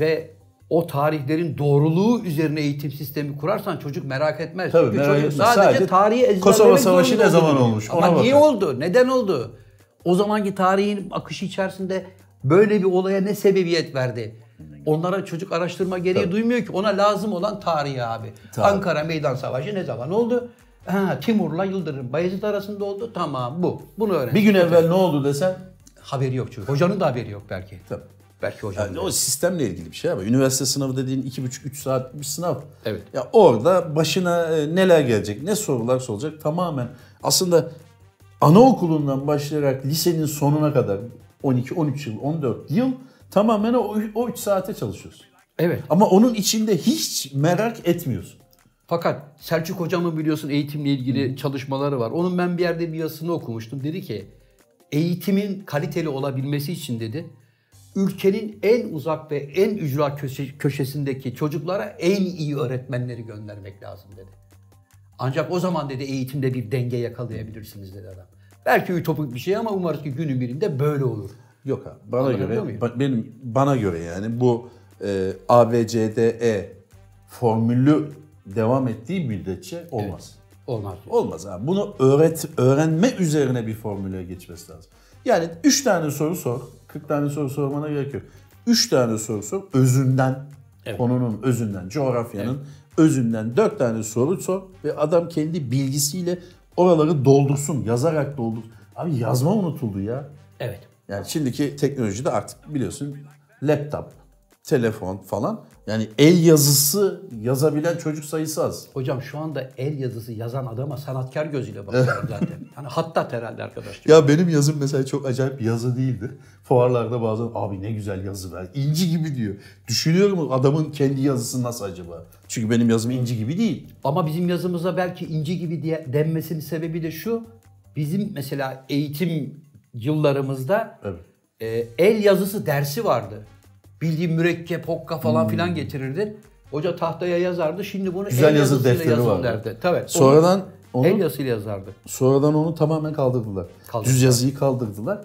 Speaker 3: ve o tarihlerin doğruluğu üzerine eğitim sistemi kurarsan çocuk merak etmez.
Speaker 2: Tabii,
Speaker 3: Çünkü
Speaker 2: merak
Speaker 3: çocuk
Speaker 2: etmez.
Speaker 3: sadece,
Speaker 2: Sadece
Speaker 3: tarihi ezberlemek
Speaker 2: Kosova Savaşı
Speaker 3: zorunda
Speaker 2: ne zaman
Speaker 3: olduğunu
Speaker 2: olmuş,
Speaker 3: biliyor.
Speaker 2: ona
Speaker 3: Ama niye
Speaker 2: bakar.
Speaker 3: oldu? Neden oldu? O zamanki tarihin akışı içerisinde böyle bir olaya ne sebebiyet verdi? Onlara çocuk araştırma gereği duymuyor ki. Ona lazım olan tarihi abi.
Speaker 2: Tabii.
Speaker 3: Ankara Meydan Savaşı ne zaman oldu? Ha, Timur'la Yıldırım Bayezid arasında oldu. Tamam bu. Bunu öğren.
Speaker 2: Bir gün evvel ne oldu desen
Speaker 3: Haberi yok çünkü. Hocanın da haberi yok belki.
Speaker 2: Tabii.
Speaker 3: Belki hocanın.
Speaker 2: Yani o sistemle ilgili bir şey ama üniversite sınavı dediğin iki buçuk üç saat bir sınav.
Speaker 3: Evet.
Speaker 2: Ya orada başına e, neler gelecek, ne sorular soracak tamamen aslında anaokulundan başlayarak lisenin sonuna kadar 12 13 yıl 14 yıl tamamen o, o 3 saate çalışıyorsun.
Speaker 3: Evet.
Speaker 2: Ama onun içinde hiç merak etmiyorsun.
Speaker 3: Fakat Selçuk hocamın biliyorsun eğitimle ilgili çalışmaları var. Onun ben bir yerde bir yazısını okumuştum. Dedi ki eğitimin kaliteli olabilmesi için dedi ülkenin en uzak ve en ücra köşe- köşesindeki çocuklara en iyi öğretmenleri göndermek lazım dedi. Ancak o zaman dedi eğitimde bir denge yakalayabilirsiniz dedi adam. Belki ütopik bir şey ama umarız ki günün birinde böyle olur.
Speaker 2: Yok abi bana
Speaker 3: Anlatabiliyor muyum?
Speaker 2: göre bak benim bana göre yani bu e, A B C D E formülü devam ettiği müddetçe olmaz.
Speaker 3: Olmaz.
Speaker 2: Olmaz abi. Bunu öğret öğrenme üzerine bir formüle geçmesi lazım. Yani 3 tane soru sor. 40 tane soru sormana gerek yok. 3 tane soru sor. Özünden. Konunun özünden, coğrafyanın özünden 4 tane soru sor ve adam kendi bilgisiyle oraları doldursun. Yazarak doldur. Abi yazma unutuldu ya.
Speaker 3: Evet.
Speaker 2: Yani şimdiki teknolojide artık biliyorsun laptop, telefon falan Yani el yazısı yazabilen çocuk sayısı az.
Speaker 3: Hocam şu anda el yazısı yazan adama sanatkar gözüyle bakıyorlar zaten. Hani hatta herhalde arkadaş.
Speaker 2: Ya benim yazım mesela çok acayip yazı değildi. Fuarlarda bazen abi ne güzel yazı ver. İnci gibi diyor. Düşünüyorum adamın kendi yazısı nasıl acaba? Çünkü benim yazım inci gibi değil.
Speaker 3: Ama bizim yazımıza belki inci gibi diye denmesinin sebebi de şu. Bizim mesela eğitim yıllarımızda
Speaker 2: Evet.
Speaker 3: e, el yazısı dersi vardı. Bildiğin mürekkep, hokka falan filan getirirdi. Hoca tahtaya yazardı. Şimdi bunu
Speaker 2: Hmm. Güzel
Speaker 3: el
Speaker 2: yazı
Speaker 3: yazısıyla
Speaker 2: defteri
Speaker 3: yazın
Speaker 2: vardı.
Speaker 3: derdi. Tabii. onu
Speaker 2: Sonradan onu
Speaker 3: el yazısıyla yazardı.
Speaker 2: sonradan onu tamamen kaldırdılar.
Speaker 3: Kaldırdılar.
Speaker 2: Düz yazıyı kaldırdılar.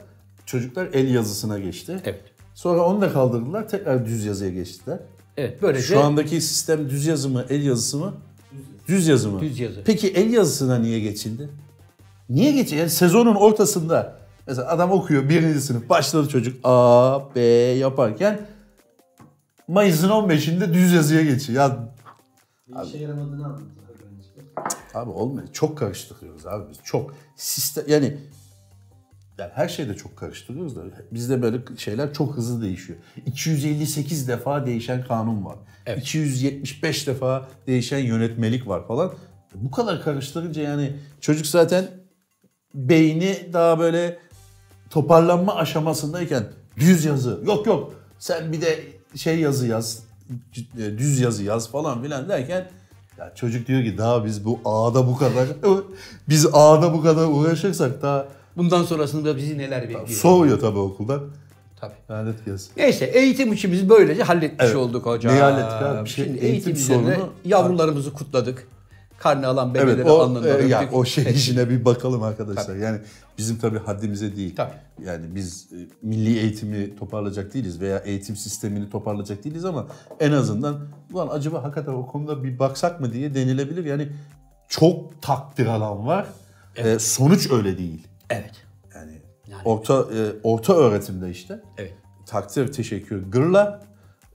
Speaker 2: Çocuklar el yazısına geçti.
Speaker 3: Evet.
Speaker 2: Sonra onu da kaldırdılar. Tekrar düz yazıya geçtiler.
Speaker 3: Evet böylece
Speaker 2: Şu andaki sistem düz yazı mı, el yazısı mı? Düz yazı mı?
Speaker 3: Düz yazı.
Speaker 2: Peki el yazısına niye geçildi? Niye geçildi? Yani sezonun ortasında mesela adam okuyor birinci sınıf başladı çocuk A, B yaparken Mayıs'ın 15'inde düz yazıya geçiyor. Ya
Speaker 4: Bir işe yaramadığını anlatıyor öğrenciler.
Speaker 2: Abi olmuyor. Çok karıştırıyoruz abi biz. Çok. Sistem yani yani her şeyde çok karıştırıyoruz da bizde böyle şeyler çok hızlı değişiyor. 258 defa değişen kanun var. 275 defa değişen yönetmelik var falan. Bu kadar karıştırınca yani çocuk zaten beyni daha böyle toparlanma aşamasındayken düz yazı yok yok sen bir de şey yazı yaz e, düz yazı yaz falan filan derken ya çocuk diyor ki daha biz bu ağda bu kadar biz ağda bu kadar uğraşırsak daha
Speaker 3: bundan sonrasında bizi neler bekliyor.
Speaker 2: soğuyor tabii okuldan.
Speaker 3: Tabii.
Speaker 2: Lanet gelsin.
Speaker 3: Neyse eğitim işimizi böylece halletmiş
Speaker 2: Evet.
Speaker 3: olduk hocam.
Speaker 2: Neyi hallettik abi? Bir şey-
Speaker 3: Şimdi
Speaker 2: eğitim
Speaker 3: eğitim üzerine
Speaker 2: sorunu-
Speaker 3: yavrularımızı kutladık. Karne alan bebeleri
Speaker 2: Evet o,
Speaker 3: alnından
Speaker 2: e, ya,
Speaker 3: öptük.
Speaker 2: o şey
Speaker 3: Evet.
Speaker 2: işine bir bakalım arkadaşlar. Yani bizim tabii haddimize değil.
Speaker 3: Tabii.
Speaker 2: Yani biz e, milli eğitimi toparlayacak değiliz veya eğitim sistemini toparlayacak değiliz ama en azından ulan acaba hakikaten o konuda bir baksak mı diye denilebilir. Yani çok takdir alan var. E, sonuç öyle değil.
Speaker 3: Evet.
Speaker 2: Yani, orta e, orta öğretimde işte.
Speaker 3: Evet.
Speaker 2: takdir, teşekkür, gırla.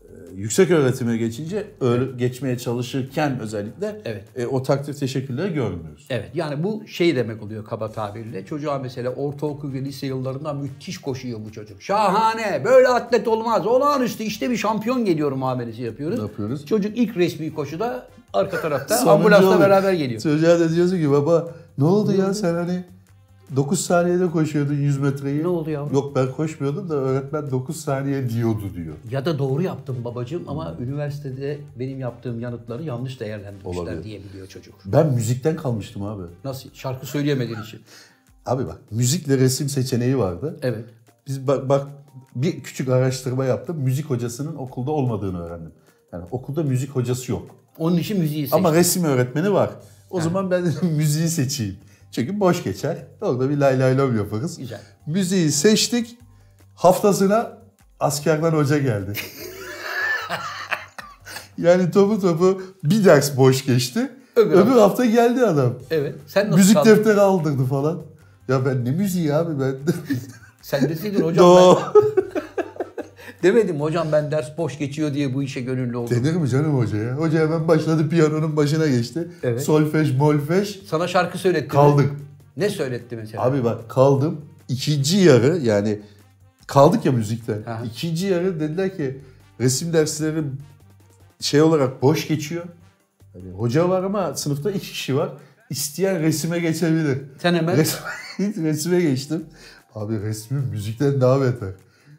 Speaker 2: Ee, Yüksek öğretime geçince öyle geçmeye çalışırken özellikle
Speaker 3: Evet.
Speaker 2: e, o takdir teşekkürleri görmüyoruz.
Speaker 3: Evet. Yani bu şey demek oluyor kaba tabirle. Çocuğa mesela ortaokul ve lise yıllarında müthiş koşuyor bu çocuk. Şahane. Böyle atlet olmaz. Olağanüstü işte bir şampiyon geliyor muamelesi yapıyoruz.
Speaker 2: Yapıyoruz.
Speaker 3: Çocuk ilk resmi koşuda arka tarafta
Speaker 2: Sonuncu
Speaker 3: ambulansla
Speaker 2: oluyor.
Speaker 3: beraber geliyor.
Speaker 2: Çocuğa da diyorsun ki baba ne oldu ya sen hani 9 saniyede koşuyordun 100 metreyi.
Speaker 3: Ne oldu yavrum?
Speaker 2: Yok ben koşmuyordum da öğretmen 9 saniye diyordu diyor.
Speaker 3: Ya da doğru yaptım babacığım ama üniversitede benim yaptığım yanıtları yanlış değerlendirmişler
Speaker 2: Olabilir.
Speaker 3: diyebiliyor çocuk.
Speaker 2: Ben müzikten kalmıştım abi.
Speaker 3: Nasıl? Şarkı söyleyemediğin için.
Speaker 2: Abi bak müzikle resim seçeneği vardı.
Speaker 3: Evet.
Speaker 2: Biz bak, bak bir küçük araştırma yaptım. Müzik hocasının okulda olmadığını öğrendim. Yani okulda müzik hocası yok.
Speaker 3: Onun için müziği seçtim.
Speaker 2: Ama resim öğretmeni var. O zaman ben dedim müziği seçeyim. Çünkü boş geçer. Orada bir lay lay lom yaparız.
Speaker 3: Güzel.
Speaker 2: Müziği seçtik. Haftasına askerden hoca geldi. yani topu topu bir ders boş geçti.
Speaker 3: Öbür
Speaker 2: Öbür, hafta geldi adam.
Speaker 3: Evet. Sen nasıl
Speaker 2: Müzik
Speaker 3: kaldın?
Speaker 2: defteri aldırdı falan. Ya ben ne müziği abi ben.
Speaker 3: Sen deseydin hocam
Speaker 2: Do.
Speaker 3: ben... Demedim hocam ben ders boş geçiyor diye bu işe gönüllü oldum.
Speaker 2: Denir mi canım hocaya? Hoca hemen başladı piyanonun başına geçti.
Speaker 3: Evet.
Speaker 2: Solfej, molfej.
Speaker 3: Sana şarkı söyletti.
Speaker 2: Kaldık.
Speaker 3: Ne söyletti mesela?
Speaker 2: Abi bak kaldım. ikinci yarı yani kaldık ya müzikten.
Speaker 3: Aha.
Speaker 2: İkinci yarı dediler ki resim dersleri şey olarak boş geçiyor. Hani hoca var ama sınıfta iki kişi var. İsteyen resime geçebilir.
Speaker 3: Sen hemen
Speaker 2: Res- resime geçtim. Abi resmim müzikten daha beter.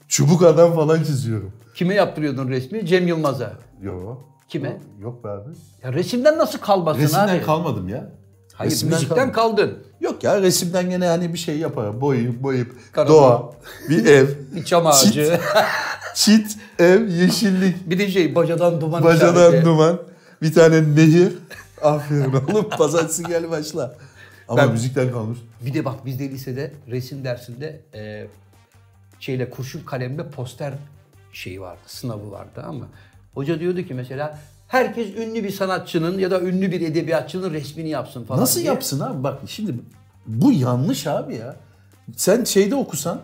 Speaker 2: Çubuk adam falan çiziyorum.
Speaker 3: kime yaptırıyordun resmi? Cem Yılmaz'a.
Speaker 2: Yok.
Speaker 3: Kime?
Speaker 2: Yok be abi.
Speaker 3: Ya resimden nasıl kalmasın
Speaker 2: Resimden
Speaker 3: abi?
Speaker 2: kalmadım ya.
Speaker 3: Hayır
Speaker 2: Resimden
Speaker 3: müzikten kaldın.
Speaker 2: Yok ya resimden gene hani bir şey yapar. Boyayıp boyayıp.
Speaker 3: Karavan.
Speaker 2: Doğa. Bir ev.
Speaker 3: Bir çam ağacı.
Speaker 2: Çit, ev, yeşillik,
Speaker 3: bir de şey bacadan duman
Speaker 2: bacadan
Speaker 3: işareti.
Speaker 2: duman, bir tane nehir. Aferin oğlum pazartesi gel başla. Ama
Speaker 3: Ben-
Speaker 2: müzikten kalmış.
Speaker 3: Bir de bak bizde lisede resim dersinde e, şeyle kurşun kalemle poster şeyi vardı, sınavı vardı ama hoca diyordu ki mesela herkes ünlü bir sanatçının ya da ünlü bir edebiyatçının resmini yapsın falan.
Speaker 2: Nasıl
Speaker 3: diye.
Speaker 2: yapsın abi? Bak şimdi bu yanlış abi ya. Sen şeyde okusan,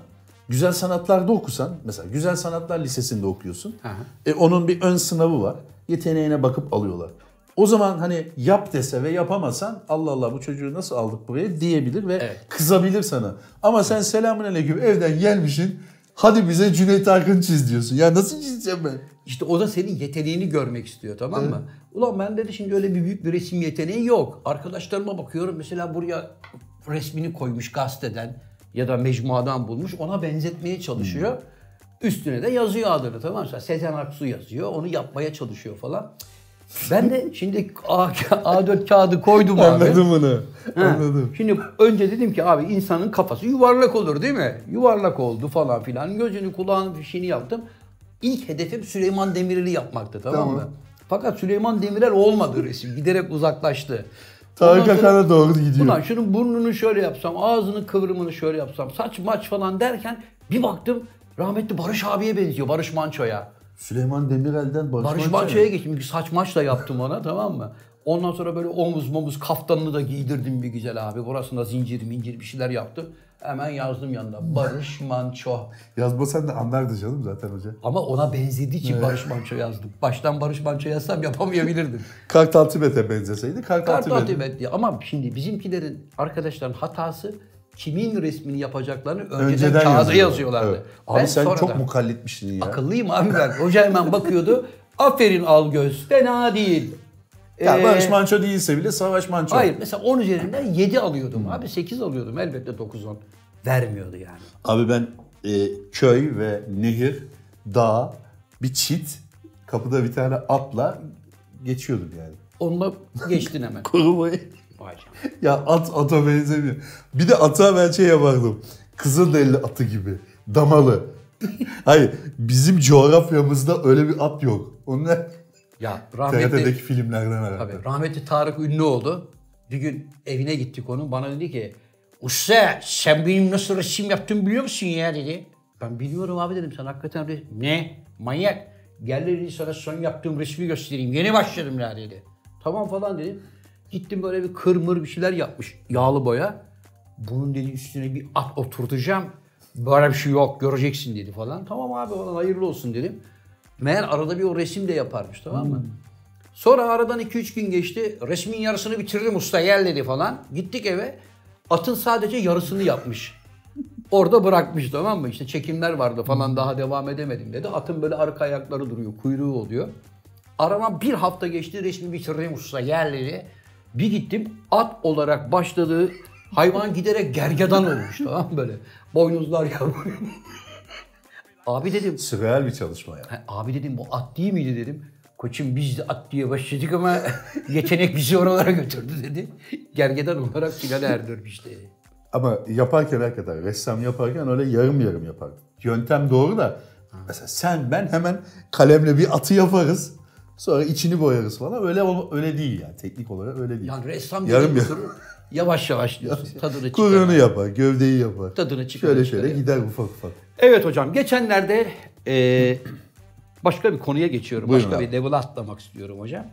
Speaker 2: güzel sanatlarda okusan, mesela güzel sanatlar lisesinde okuyorsun.
Speaker 3: Aha.
Speaker 2: E, onun bir ön sınavı var. Yeteneğine bakıp alıyorlar. O zaman hani yap dese ve yapamasan Allah Allah bu çocuğu nasıl aldık buraya diyebilir ve
Speaker 3: Evet.
Speaker 2: kızabilir sana. Ama sen selamünaleyküm evden gelmişsin. Hadi bize Cüneyt Arkın çiz diyorsun. Ya nasıl çizeceğim ben?
Speaker 3: İşte o da senin yeteneğini görmek istiyor tamam mı? Ulan bende de şimdi öyle bir büyük bir resim yeteneği yok. Arkadaşlarıma bakıyorum mesela buraya resmini koymuş gazeteden ya da mecmuadan bulmuş ona benzetmeye çalışıyor. Üstüne de yazıyor adını tamam mı? Mesela Sezen Aksu yazıyor onu yapmaya çalışıyor falan. Ben de şimdi A- A4 kağıdı koydum abi.
Speaker 2: Anladım bunu.
Speaker 3: Ha.
Speaker 2: Anladım.
Speaker 3: Şimdi önce dedim ki abi insanın kafası yuvarlak olur değil mi? Yuvarlak oldu falan filan. Gözünü kulağını fişini yaptım. İlk hedefim Süleyman Demirel'i yapmaktı tamam, mı? Fakat Süleyman Demirel olmadı resim. Giderek uzaklaştı.
Speaker 2: Tarık
Speaker 3: Ondan sonra-
Speaker 2: Akan'a doğru gidiyor.
Speaker 3: Ulan şunun burnunu şöyle yapsam, ağzının kıvrımını şöyle yapsam, saç maç falan derken bir baktım rahmetli Barış abiye benziyor, Barış Manço'ya.
Speaker 2: Süleyman Demirel'den Barış,
Speaker 3: Barış
Speaker 2: Manço'ya-
Speaker 3: Manço'ya geçtim. Bir saç maç da yaptım ona tamam mı? Ondan sonra böyle omuz momuz kaftanını da giydirdim bir güzel abi. Burasında zincir mincir bir şeyler yaptım. Hemen yazdım yanına Barış Manço.
Speaker 2: Yazmasan da anlardı canım zaten hoca.
Speaker 3: Ama ona benzediği için Barış Manço yazdım. Baştan Barış Manço yazsam yapamayabilirdim.
Speaker 2: Kartal Tibet'e benzeseydi Kartal,
Speaker 3: Kartal
Speaker 2: Tibet.
Speaker 3: Tibet diye. Ama şimdi bizimkilerin arkadaşların hatası kimin resmini yapacaklarını önceden, kağıda
Speaker 2: yazıyorlar.
Speaker 3: yazıyorlardı.
Speaker 2: Evet. Abi
Speaker 3: Ben
Speaker 2: sen çok
Speaker 3: sonradan-
Speaker 2: mukallitmişsin ya.
Speaker 3: Akıllıyım abi ben. Hoca hemen bakıyordu. Aferin al göz. Fena değil.
Speaker 2: Ya
Speaker 3: Ee,
Speaker 2: Barış Manço değilse bile Savaş Manço.
Speaker 3: Hayır mesela 10 üzerinden 7 alıyordum. Abi 8 alıyordum elbette 9-10. Vermiyordu yani.
Speaker 2: Abi ben e, köy ve nehir, dağ, bir çit, kapıda bir tane atla geçiyordum yani.
Speaker 3: Onunla geçtin hemen.
Speaker 2: Korumayı.
Speaker 3: Vay canına.
Speaker 2: ya at ata benzemiyor. Bir de ata ben şey yapardım. Kızılderili atı gibi. Damalı. Hayır bizim coğrafyamızda öyle bir at yok. Onlar
Speaker 3: Ya
Speaker 2: TRT'deki
Speaker 3: rahmetli,
Speaker 2: filmlerden herhalde.
Speaker 3: tabii, rahmetli Tarık ünlü oldu. Bir gün evine gittik onun. Bana dedi ki Usta sen benim nasıl resim yaptığımı biliyor musun ya dedi. Ben biliyorum abi dedim sen hakikaten resim... Ne? Manyak. Gel dedi sana son yaptığım resmi göstereyim. Yeni başladım ya dedi. Tamam falan dedim. Gittim böyle bir kırmır bir şeyler yapmış. Yağlı boya. bunun dedi üstüne bir at oturtacağım. Böyle bir şey yok göreceksin dedi falan. Tamam abi falan hayırlı olsun dedim. Meğer arada bir o resim de yaparmış tamam mı? Sonra aradan 2-3 gün geçti. Resmin yarısını bitirdim usta gel dedi falan. Gittik eve. Atın sadece yarısını yapmış. Orada bırakmış tamam mı? İşte çekimler vardı falan daha devam edemedim dedi. Atın böyle arka ayakları duruyor, kuyruğu oluyor. Aradan bir hafta geçti resmi bitirdim usta gel dedi. Bir gittim at olarak başladığı hayvan giderek gergedan olmuş tamam mı böyle. Boynuzlar yapıyor. Abi dedim
Speaker 2: Sürreal bir çalışma ya.
Speaker 3: Ha, Abi dedim bu at değil miydi dedim. Koçum biz de at diye başladık ama yetenek bizi oralara götürdü dedi. Gergedan olarak finale erdirmiş dedi.
Speaker 2: Ama yaparken hakikaten ressam yaparken öyle yarım yarım yapardı. Yöntem doğru da mesela sen ben hemen kalemle bir atı yaparız. Sonra içini boyarız falan. Öyle ol- öyle değil yani. Teknik olarak öyle değil.
Speaker 3: Yani ressam
Speaker 2: Yarım
Speaker 3: yarım
Speaker 2: yarım.
Speaker 3: oturur, yavaş yavaş diyorsun. Tadını çıkar.
Speaker 2: Kuyruğunu yapar, gövdeyi yapar.
Speaker 3: Tadını çıkar-
Speaker 2: Şöyle
Speaker 3: çıkar
Speaker 2: şöyle
Speaker 3: ya.
Speaker 2: gider ufak ufak.
Speaker 3: Evet hocam geçenlerde eee, başka bir konuya geçiyorum.
Speaker 2: Buyurun
Speaker 3: başka
Speaker 2: abi.
Speaker 3: bir level atlamak istiyorum hocam.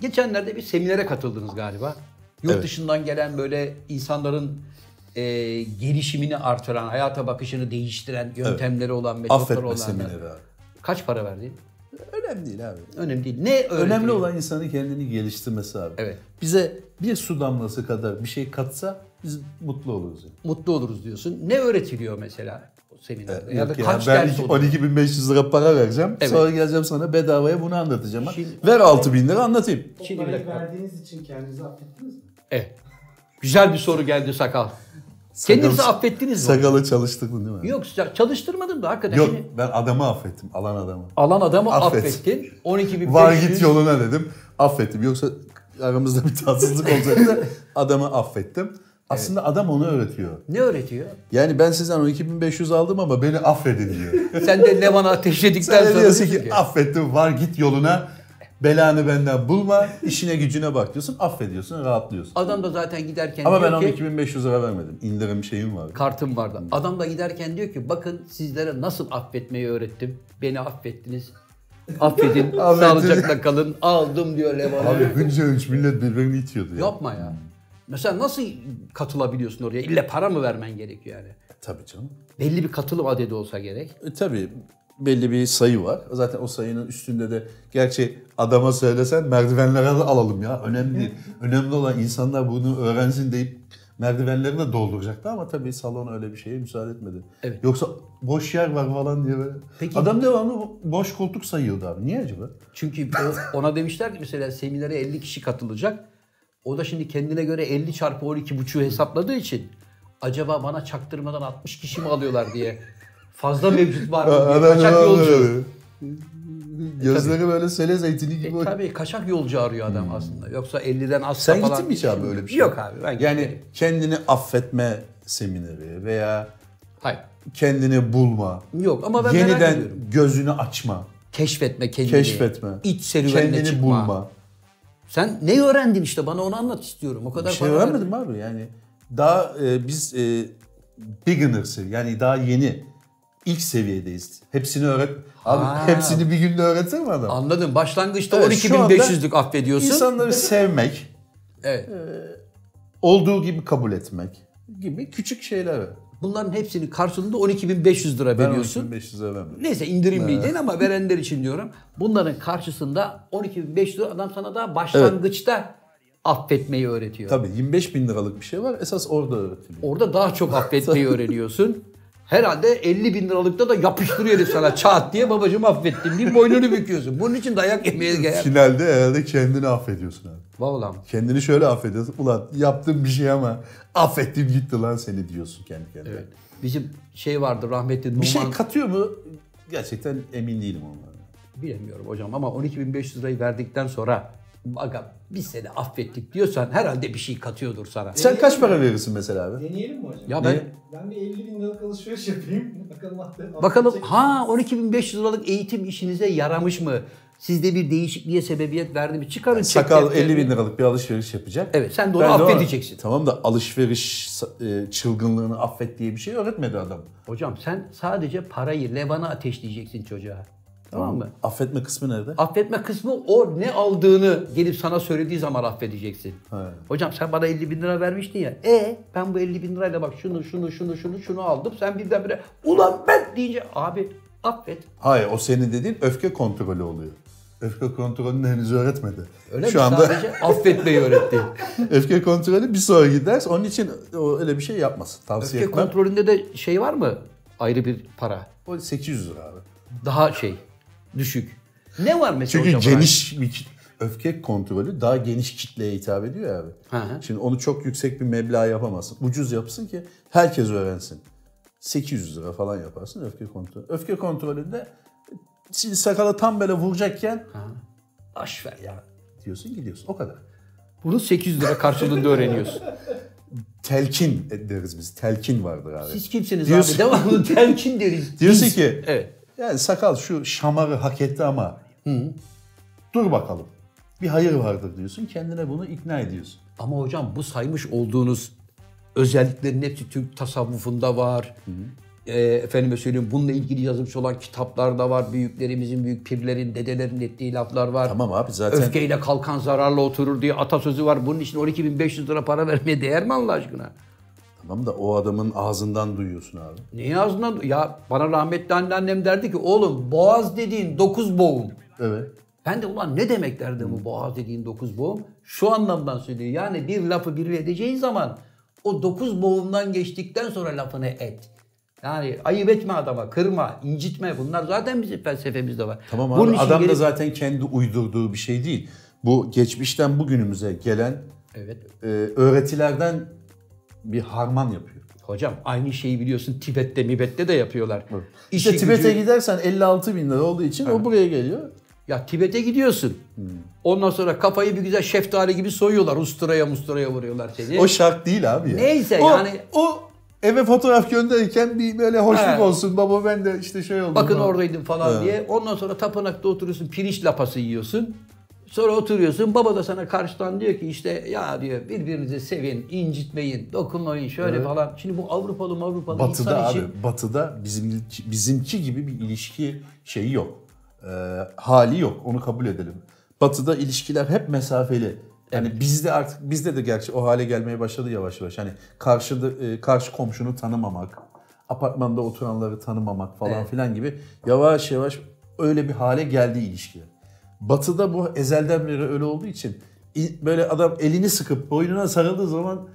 Speaker 3: Geçenlerde bir seminere katıldınız galiba. Yurt
Speaker 2: Evet.
Speaker 3: dışından gelen böyle insanların eee, gelişimini artıran, hayata bakışını değiştiren yöntemleri olan, metotları
Speaker 2: Affetme
Speaker 3: olan.
Speaker 2: semineri abi.
Speaker 3: Kaç para verdin?
Speaker 2: Önemli değil abi.
Speaker 3: Önemli değil. Ne
Speaker 2: Önemli
Speaker 3: öğretiyor?
Speaker 2: olan insanın kendini geliştirmesi abi.
Speaker 3: Evet.
Speaker 2: Bize bir su damlası kadar bir şey katsa biz mutlu oluruz. Yani.
Speaker 3: Mutlu oluruz diyorsun. Ne öğretiliyor mesela o seminerde? ya da
Speaker 2: Ee, Yok ya,
Speaker 3: kaç
Speaker 2: ben
Speaker 3: ders
Speaker 2: iki-
Speaker 3: oluyor?
Speaker 2: 12.500 lira para vereceğim.
Speaker 3: Evet.
Speaker 2: Sonra geleceğim sana bedavaya bunu anlatacağım.
Speaker 3: Şimdi-
Speaker 2: Ver 6.000 lira anlatayım.
Speaker 4: O
Speaker 3: Şimdi bir
Speaker 4: parayı
Speaker 3: dakika.
Speaker 4: verdiğiniz için kendinizi affettiniz mi?
Speaker 3: Evet. Eh, Güzel bir soru geldi sakal. Kendinizi
Speaker 2: Sakal-
Speaker 3: affettiniz mi?
Speaker 2: Sakalı çalıştırdın değil mi?
Speaker 3: Yok sa- çalıştırmadım da hakikaten.
Speaker 2: Yok
Speaker 3: Şimdi
Speaker 2: ben adamı affettim. Alan adamı.
Speaker 3: alan adamı
Speaker 2: Affet.
Speaker 3: affettin. 12 bin
Speaker 2: Var git yoluna dedim. Affettim. Yoksa aramızda bir tatsızlık olacaktı. adamı affettim. Aslında adam onu öğretiyor.
Speaker 3: Ne öğretiyor?
Speaker 2: Yani ben sizden o 2500 aldım ama beni affedin diyor.
Speaker 3: Sen de Levan'ı ateşledikten
Speaker 2: Sen de
Speaker 3: sonra
Speaker 2: diyorsun
Speaker 3: diyorsun
Speaker 2: ki affettim var git yoluna. Belanı benden bulma. işine gücüne bak diyorsun. Affediyorsun rahatlıyorsun.
Speaker 3: Adam da zaten giderken
Speaker 2: Ama ben
Speaker 3: diyor
Speaker 2: ona
Speaker 3: ki
Speaker 2: 2500 lira vermedim. İndirim şeyim var.
Speaker 3: kartım vardı. Adam da giderken diyor ki bakın sizlere nasıl affetmeyi öğrettim. Beni affettiniz. Affedin. sağlıcakla kalın. Aldım diyor Levan'ı.
Speaker 2: Abi günce üç millet birbirini itiyordu ya.
Speaker 3: Yapma ya. Mesela nasıl katılabiliyorsun oraya? İlle para mı vermen gerekiyor yani?
Speaker 2: E, Tabii canım.
Speaker 3: Belli bir katılım adedi olsa gerek.
Speaker 2: E, tabii belli bir sayı var. Zaten o sayının üstünde de gerçi adama söylesen merdivenlere de alalım ya. Önemli değil. Önemli olan insanlar bunu öğrensin deyip merdivenlerini de dolduracaktı ama tabii salon öyle bir şeye müsaade etmedi.
Speaker 3: Evet.
Speaker 2: Yoksa boş yer var falan diye böyle.
Speaker 3: Peki-
Speaker 2: Adam devamlı bo- boş koltuk sayıyordu abi. Niye acaba?
Speaker 3: Çünkü o- ona demişler ki mesela seminere 50 kişi katılacak. O da şimdi kendine göre 50 çarpı 12 buçuğu hesapladığı için acaba bana çaktırmadan 60 kişi mi alıyorlar diye fazla mevcut var mı diye kaçak yolcu.
Speaker 2: Gözleri böyle sele zeytini gibi.
Speaker 3: E, tabii kaçak yolcu arıyor adam aslında. Yoksa 50'den az
Speaker 2: Sen
Speaker 3: falan.
Speaker 2: gittin mi hiç abi öyle bir şey?
Speaker 3: Yok abi ben
Speaker 2: yani
Speaker 3: gitmedim.
Speaker 2: kendini affetme semineri veya
Speaker 3: Hayır.
Speaker 2: kendini bulma.
Speaker 3: Yok ama ben merak ediyorum.
Speaker 2: yeniden gözünü açma.
Speaker 3: Keşfetme kendini.
Speaker 2: Keşfetme.
Speaker 3: İç serüvenine
Speaker 2: kendini
Speaker 3: çıkma.
Speaker 2: bulma.
Speaker 3: Sen ne öğrendin işte bana onu anlat istiyorum. O kadar
Speaker 2: Bir şey
Speaker 3: para
Speaker 2: öğrenmedim abi yani. Daha e, biz e, beginners'ı yani daha yeni ilk seviyedeyiz. Hepsini öğret. Abi
Speaker 3: Ha.
Speaker 2: hepsini bir günde öğretir mi adam?
Speaker 3: Anladım. Başlangıçta
Speaker 2: Evet, şu anda
Speaker 3: 12.500'lük affediyorsun.
Speaker 2: İnsanları sevmek, e,
Speaker 3: Evet.
Speaker 2: olduğu gibi kabul etmek gibi küçük şeyler. var.
Speaker 3: Bunların hepsinin karşılığında 12.500 lira
Speaker 2: Ben
Speaker 3: veriyorsun.
Speaker 2: 500 vermem.
Speaker 3: Neyse indirimliydin ama verenler için diyorum. Bunların karşısında 12.500 lira adam sana daha başlangıçta affetmeyi öğretiyor.
Speaker 2: Tabii 25 bin liralık bir şey var. Esas orada öğretiliyor.
Speaker 3: Orada daha çok affetmeyi öğreniyorsun. Herhalde 50 bin liralıkta da yapıştırıyor herif sana çat diye babacım affettim diye boynunu büküyorsun. Bunun için dayak yemeye gel.
Speaker 2: Finalde herhalde kendini affediyorsun abi.
Speaker 3: Vallahi
Speaker 2: Kendini şöyle affediyorsun. Ulan yaptığım bir şey ama affettim gitti lan seni diyorsun kendi kendine.
Speaker 3: bizim şey vardı rahmetli Numan.
Speaker 2: Bir şey katıyor mu? Gerçekten emin değilim onlara.
Speaker 3: Bilemiyorum hocam ama 12.500 lirayı verdikten sonra aga biz seni affettik diyorsan herhalde bir şey katıyordur sana.
Speaker 2: Sen kaç para verirsin mesela abi?
Speaker 4: Deneyelim mi hocam?
Speaker 3: Ya ben
Speaker 4: Ben bir 50 bin liralık alışveriş yapayım. Bakalım hatta.
Speaker 3: bakalım ha 12.500 liralık eğitim işinize yaramış mı? Sizde bir değişikliğe sebebiyet verdi mi? Çıkarın
Speaker 2: Sakal
Speaker 3: çekleri.
Speaker 2: 50 bin liralık bir alışveriş yapacak.
Speaker 3: Evet sen de onu
Speaker 2: Ben de ona-
Speaker 3: affedeceksin.
Speaker 2: Tamam da alışveriş e, çılgınlığını affet diye bir şey öğretmedi adam.
Speaker 3: Hocam sen sadece parayı levana ateşleyeceksin çocuğa. Tamam mı?
Speaker 2: Affetme kısmı nerede?
Speaker 3: Affetme kısmı o ne aldığını gelip sana söylediği zaman affedeceksin.
Speaker 2: Ha.
Speaker 3: Hocam sen bana 50 bin lira vermiştin ya. E ben bu 50 bin lirayla bak şunu şunu şunu şunu şunu aldım. Sen birdenbire ulan ben deyince abi affet.
Speaker 2: Hayır o senin dediğin öfke kontrolü oluyor. Öfke kontrolünü henüz öğretmedi.
Speaker 3: Öyle
Speaker 2: Şu
Speaker 3: mi?
Speaker 2: anda
Speaker 3: Sadece affetmeyi öğretti.
Speaker 2: öfke kontrolü bir sonraki ders. Onun için o öyle bir şey yapmasın. Tavsiye
Speaker 3: Öfke
Speaker 2: etmem.
Speaker 3: kontrolünde de şey var mı? Ayrı bir para.
Speaker 2: O 800 lira abi.
Speaker 3: Daha şey düşük. Ne var mesela
Speaker 2: Çünkü
Speaker 3: hocam?
Speaker 2: geniş bir kit- öfke kontrolü daha geniş kitleye hitap ediyor ya abi.
Speaker 3: Hı hı.
Speaker 2: Şimdi onu çok yüksek bir meblağ yapamazsın. Ucuz yapsın ki herkes öğrensin. 800 lira falan yaparsın öfke kontrolü. Öfke kontrolünde şimdi sakala tam böyle vuracakken
Speaker 3: Aş ver ya.
Speaker 2: diyorsun gidiyorsun. O kadar.
Speaker 3: Bunu 800 lira karşılığında öğreniyorsun.
Speaker 2: Telkin deriz biz. Telkin vardır abi.
Speaker 3: Siz kimsiniz
Speaker 2: Diyorsun-
Speaker 3: abi? Devamlı telkin deriz.
Speaker 2: Diyorsun ki
Speaker 3: Evet.
Speaker 2: yani sakal şu şamarı hak etti ama dur bakalım. Bir hayır vardır diyorsun. Kendine bunu ikna ediyorsun.
Speaker 3: Ama hocam bu saymış olduğunuz özelliklerin hepsi Türk tasavvufunda var. Ee, efendime söyleyeyim bununla ilgili yazılmış olan kitaplar da var. Büyüklerimizin, büyük pirlerin, dedelerin ettiği laflar var.
Speaker 2: Tamam abi zaten
Speaker 3: Öfkeyle kalkan zararla oturur diye atasözü var. Bunun için 12.500 lira para vermeye değer mi Allah aşkına?
Speaker 2: Tamam da o adamın ağzından duyuyorsun abi.
Speaker 3: Niye ağzından? Ya bana rahmetli anneannem derdi ki oğlum boğaz dediğin 9 boğum.
Speaker 2: Evet.
Speaker 3: Ben de ulan ne demek derdim
Speaker 2: Hmm.
Speaker 3: bu boğaz dediğin dokuz boğum? Şu anlamdan söylüyor. Yani bir lafı biri edeceğin zaman o dokuz boğumdan geçtikten sonra lafını et. Yani ayıp etme adama, kırma, incitme. Bunlar zaten bizim felsefemizde var.
Speaker 2: Tamam
Speaker 3: Bunun
Speaker 2: abi
Speaker 3: için
Speaker 2: adam da
Speaker 3: gelip-
Speaker 2: zaten kendi uydurduğu bir şey değil. Bu geçmişten bugünümüze gelen
Speaker 3: Evet.
Speaker 2: e, öğretilerden bir harman yapıyor.
Speaker 3: Hocam aynı şeyi biliyorsun Tibet'te, Mibet'te de yapıyorlar. İşi
Speaker 2: İşte Tibet'e
Speaker 3: gücü-
Speaker 2: gidersen 56 bin lira olduğu için o buraya geliyor.
Speaker 3: Ya Tibet'e gidiyorsun.
Speaker 2: Hmm.
Speaker 3: Ondan sonra kafayı bir güzel şeftali gibi soyuyorlar. Usturaya musturaya vuruyorlar seni.
Speaker 2: O şart değil abi ya.
Speaker 3: Neyse
Speaker 2: o,
Speaker 3: yani-
Speaker 2: O eve fotoğraf gönderirken bir böyle hoşluk
Speaker 3: Evet.
Speaker 2: olsun baba ben de işte şey oldum.
Speaker 3: Bakın
Speaker 2: falan.
Speaker 3: oradaydım falan diye. Ondan sonra tapınakta oturuyorsun, pirinç lapası yiyorsun. Sonra oturuyorsun, baba da sana karşıdan diyor ki işte ya diyor birbirinizi sevin, incitmeyin, dokunmayın şöyle falan. Şimdi bu Avrupalı Avrupalı
Speaker 2: Batı'da
Speaker 3: insan
Speaker 2: abi,
Speaker 3: için
Speaker 2: Batı'da bizim bizimki gibi bir ilişki şeyi yok. Ee, hali yok. Onu kabul edelim. Batı'da ilişkiler hep mesafeli. Yani bizde artık bizde de gerçi o hale gelmeye başladı yavaş yavaş. Hani karşıda e, karşı komşunu tanımamak, apartmanda oturanları tanımamak falan filan gibi yavaş yavaş öyle bir hale geldi ilişki. Batı'da bu ezelden beri öyle olduğu için i- böyle adam elini sıkıp boynuna sarıldığı zaman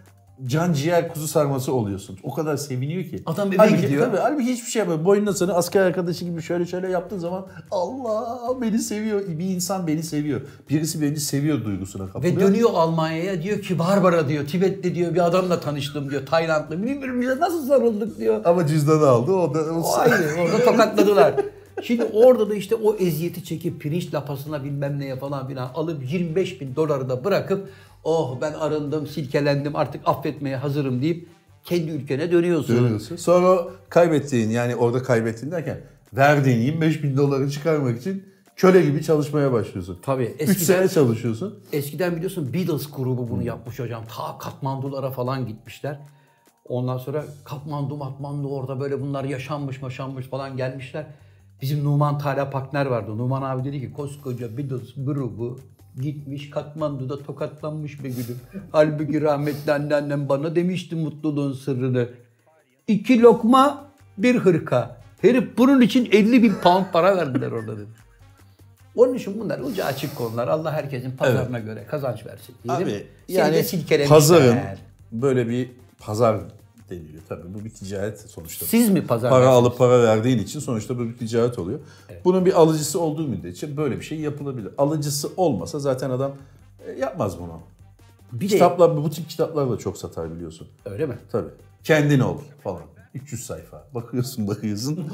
Speaker 2: can ciğer kuzu sarması oluyorsun. O kadar seviniyor ki.
Speaker 3: Adam eve
Speaker 2: halbuki,
Speaker 3: gidiyor.
Speaker 2: Tabii, halbuki hiçbir şey yapmıyor. Boynuna sana asker arkadaşı gibi şöyle şöyle yaptığın zaman Allah beni seviyor. Bir insan beni seviyor. Birisi beni seviyor duygusuna kapılıyor.
Speaker 3: Ve dönüyor Almanya'ya diyor ki Barbara diyor Tibet'te diyor bir adamla tanıştım diyor Taylandlı birbirimize nasıl sarıldık diyor.
Speaker 2: Ama cüzdanı aldı. O da o
Speaker 3: O ayrı orada tokatladılar. Şimdi orada da işte o eziyeti çekip pirinç lapasına bilmem neye falan filan alıp 25 bin doları da bırakıp oh ben arındım silkelendim artık affetmeye hazırım deyip kendi ülkene dönüyorsun.
Speaker 2: Dönüyorsun. Sonra kaybettiğin yani orada kaybettiğin derken verdiğin 25 bin doları çıkarmak için köle gibi çalışmaya başlıyorsun.
Speaker 3: Tabii,
Speaker 2: 3
Speaker 3: eskiden-
Speaker 2: sene çalışıyorsun.
Speaker 3: Eskiden biliyorsun Beatles grubu bunu yapmış hocam. Ta Katmandulara falan gitmişler. Ondan sonra Katmandu Matmandu orada böyle bunlar yaşanmış maşanmış falan gelmişler. Bizim Numan Tala Pakner vardı. Numan abi dedi ki koskoca Beatles grubu gitmiş Katmandu'da tokatlanmış bir gülüm. Halbuki rahmetli anneannem bana demişti mutluluğun sırrını. İki lokma bir hırka. Herif bunun için 50 bin pound para verdiler orada dedi. Onun için bunlar ucu açık konular. Allah herkesin pazarına göre kazanç versin diyelim.
Speaker 2: Abi
Speaker 3: Seni de
Speaker 2: yani
Speaker 3: silkelemişler.
Speaker 2: pazarın böyle bir pazar deniliyor tabii. Bu bir ticaret sonuçta.
Speaker 3: Siz mi pazar
Speaker 2: para
Speaker 3: versiniz?
Speaker 2: alıp para verdiğin için sonuçta bu bir ticaret oluyor. Bunun bir alıcısı olduğu müddetçe böyle bir şey yapılabilir. Alıcısı olmasa zaten adam e, yapmaz bunu.
Speaker 3: Bir de-
Speaker 2: Kitaplar bu tip kitaplar da çok satar biliyorsun.
Speaker 3: Öyle mi?
Speaker 2: Tabii. Kendin ol falan. 300 sayfa. Bakıyorsun bakıyorsun.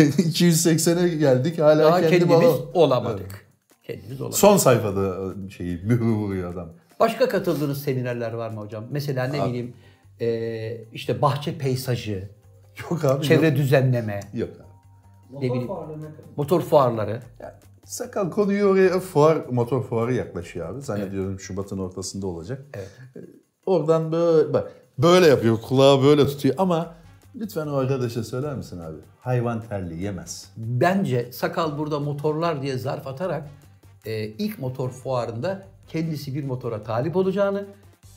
Speaker 2: 280'e geldik hala
Speaker 3: Daha
Speaker 2: kendim
Speaker 3: kendimiz
Speaker 2: alamam.
Speaker 3: olamadık. Kendimiz olamadık.
Speaker 2: Son sayfada e, şeyi mühürü vuruyor adam.
Speaker 3: Başka katıldığınız seminerler var mı hocam? Mesela ne bileyim eee, işte bahçe peysajı,
Speaker 2: Yok abi
Speaker 3: çevre
Speaker 2: yok.
Speaker 3: düzenleme,
Speaker 2: Yok abi.
Speaker 4: Motor
Speaker 3: bileyim.
Speaker 4: farlarına kadar.
Speaker 3: motor fuarları.
Speaker 2: Ya, sakal konuyu oraya fuar, motor fuarı yaklaşıyor abi. Zannediyorum Şubat'ın ortasında olacak. Ee, Oradan böyle bak böyle yapıyor. Kulağı böyle tutuyor ama lütfen o arkadaşa söyler misin abi? Hayvan terliği yemez.
Speaker 3: Bence sakal burada motorlar diye zarf atarak e, ilk motor fuarında kendisi bir motora talip olacağını,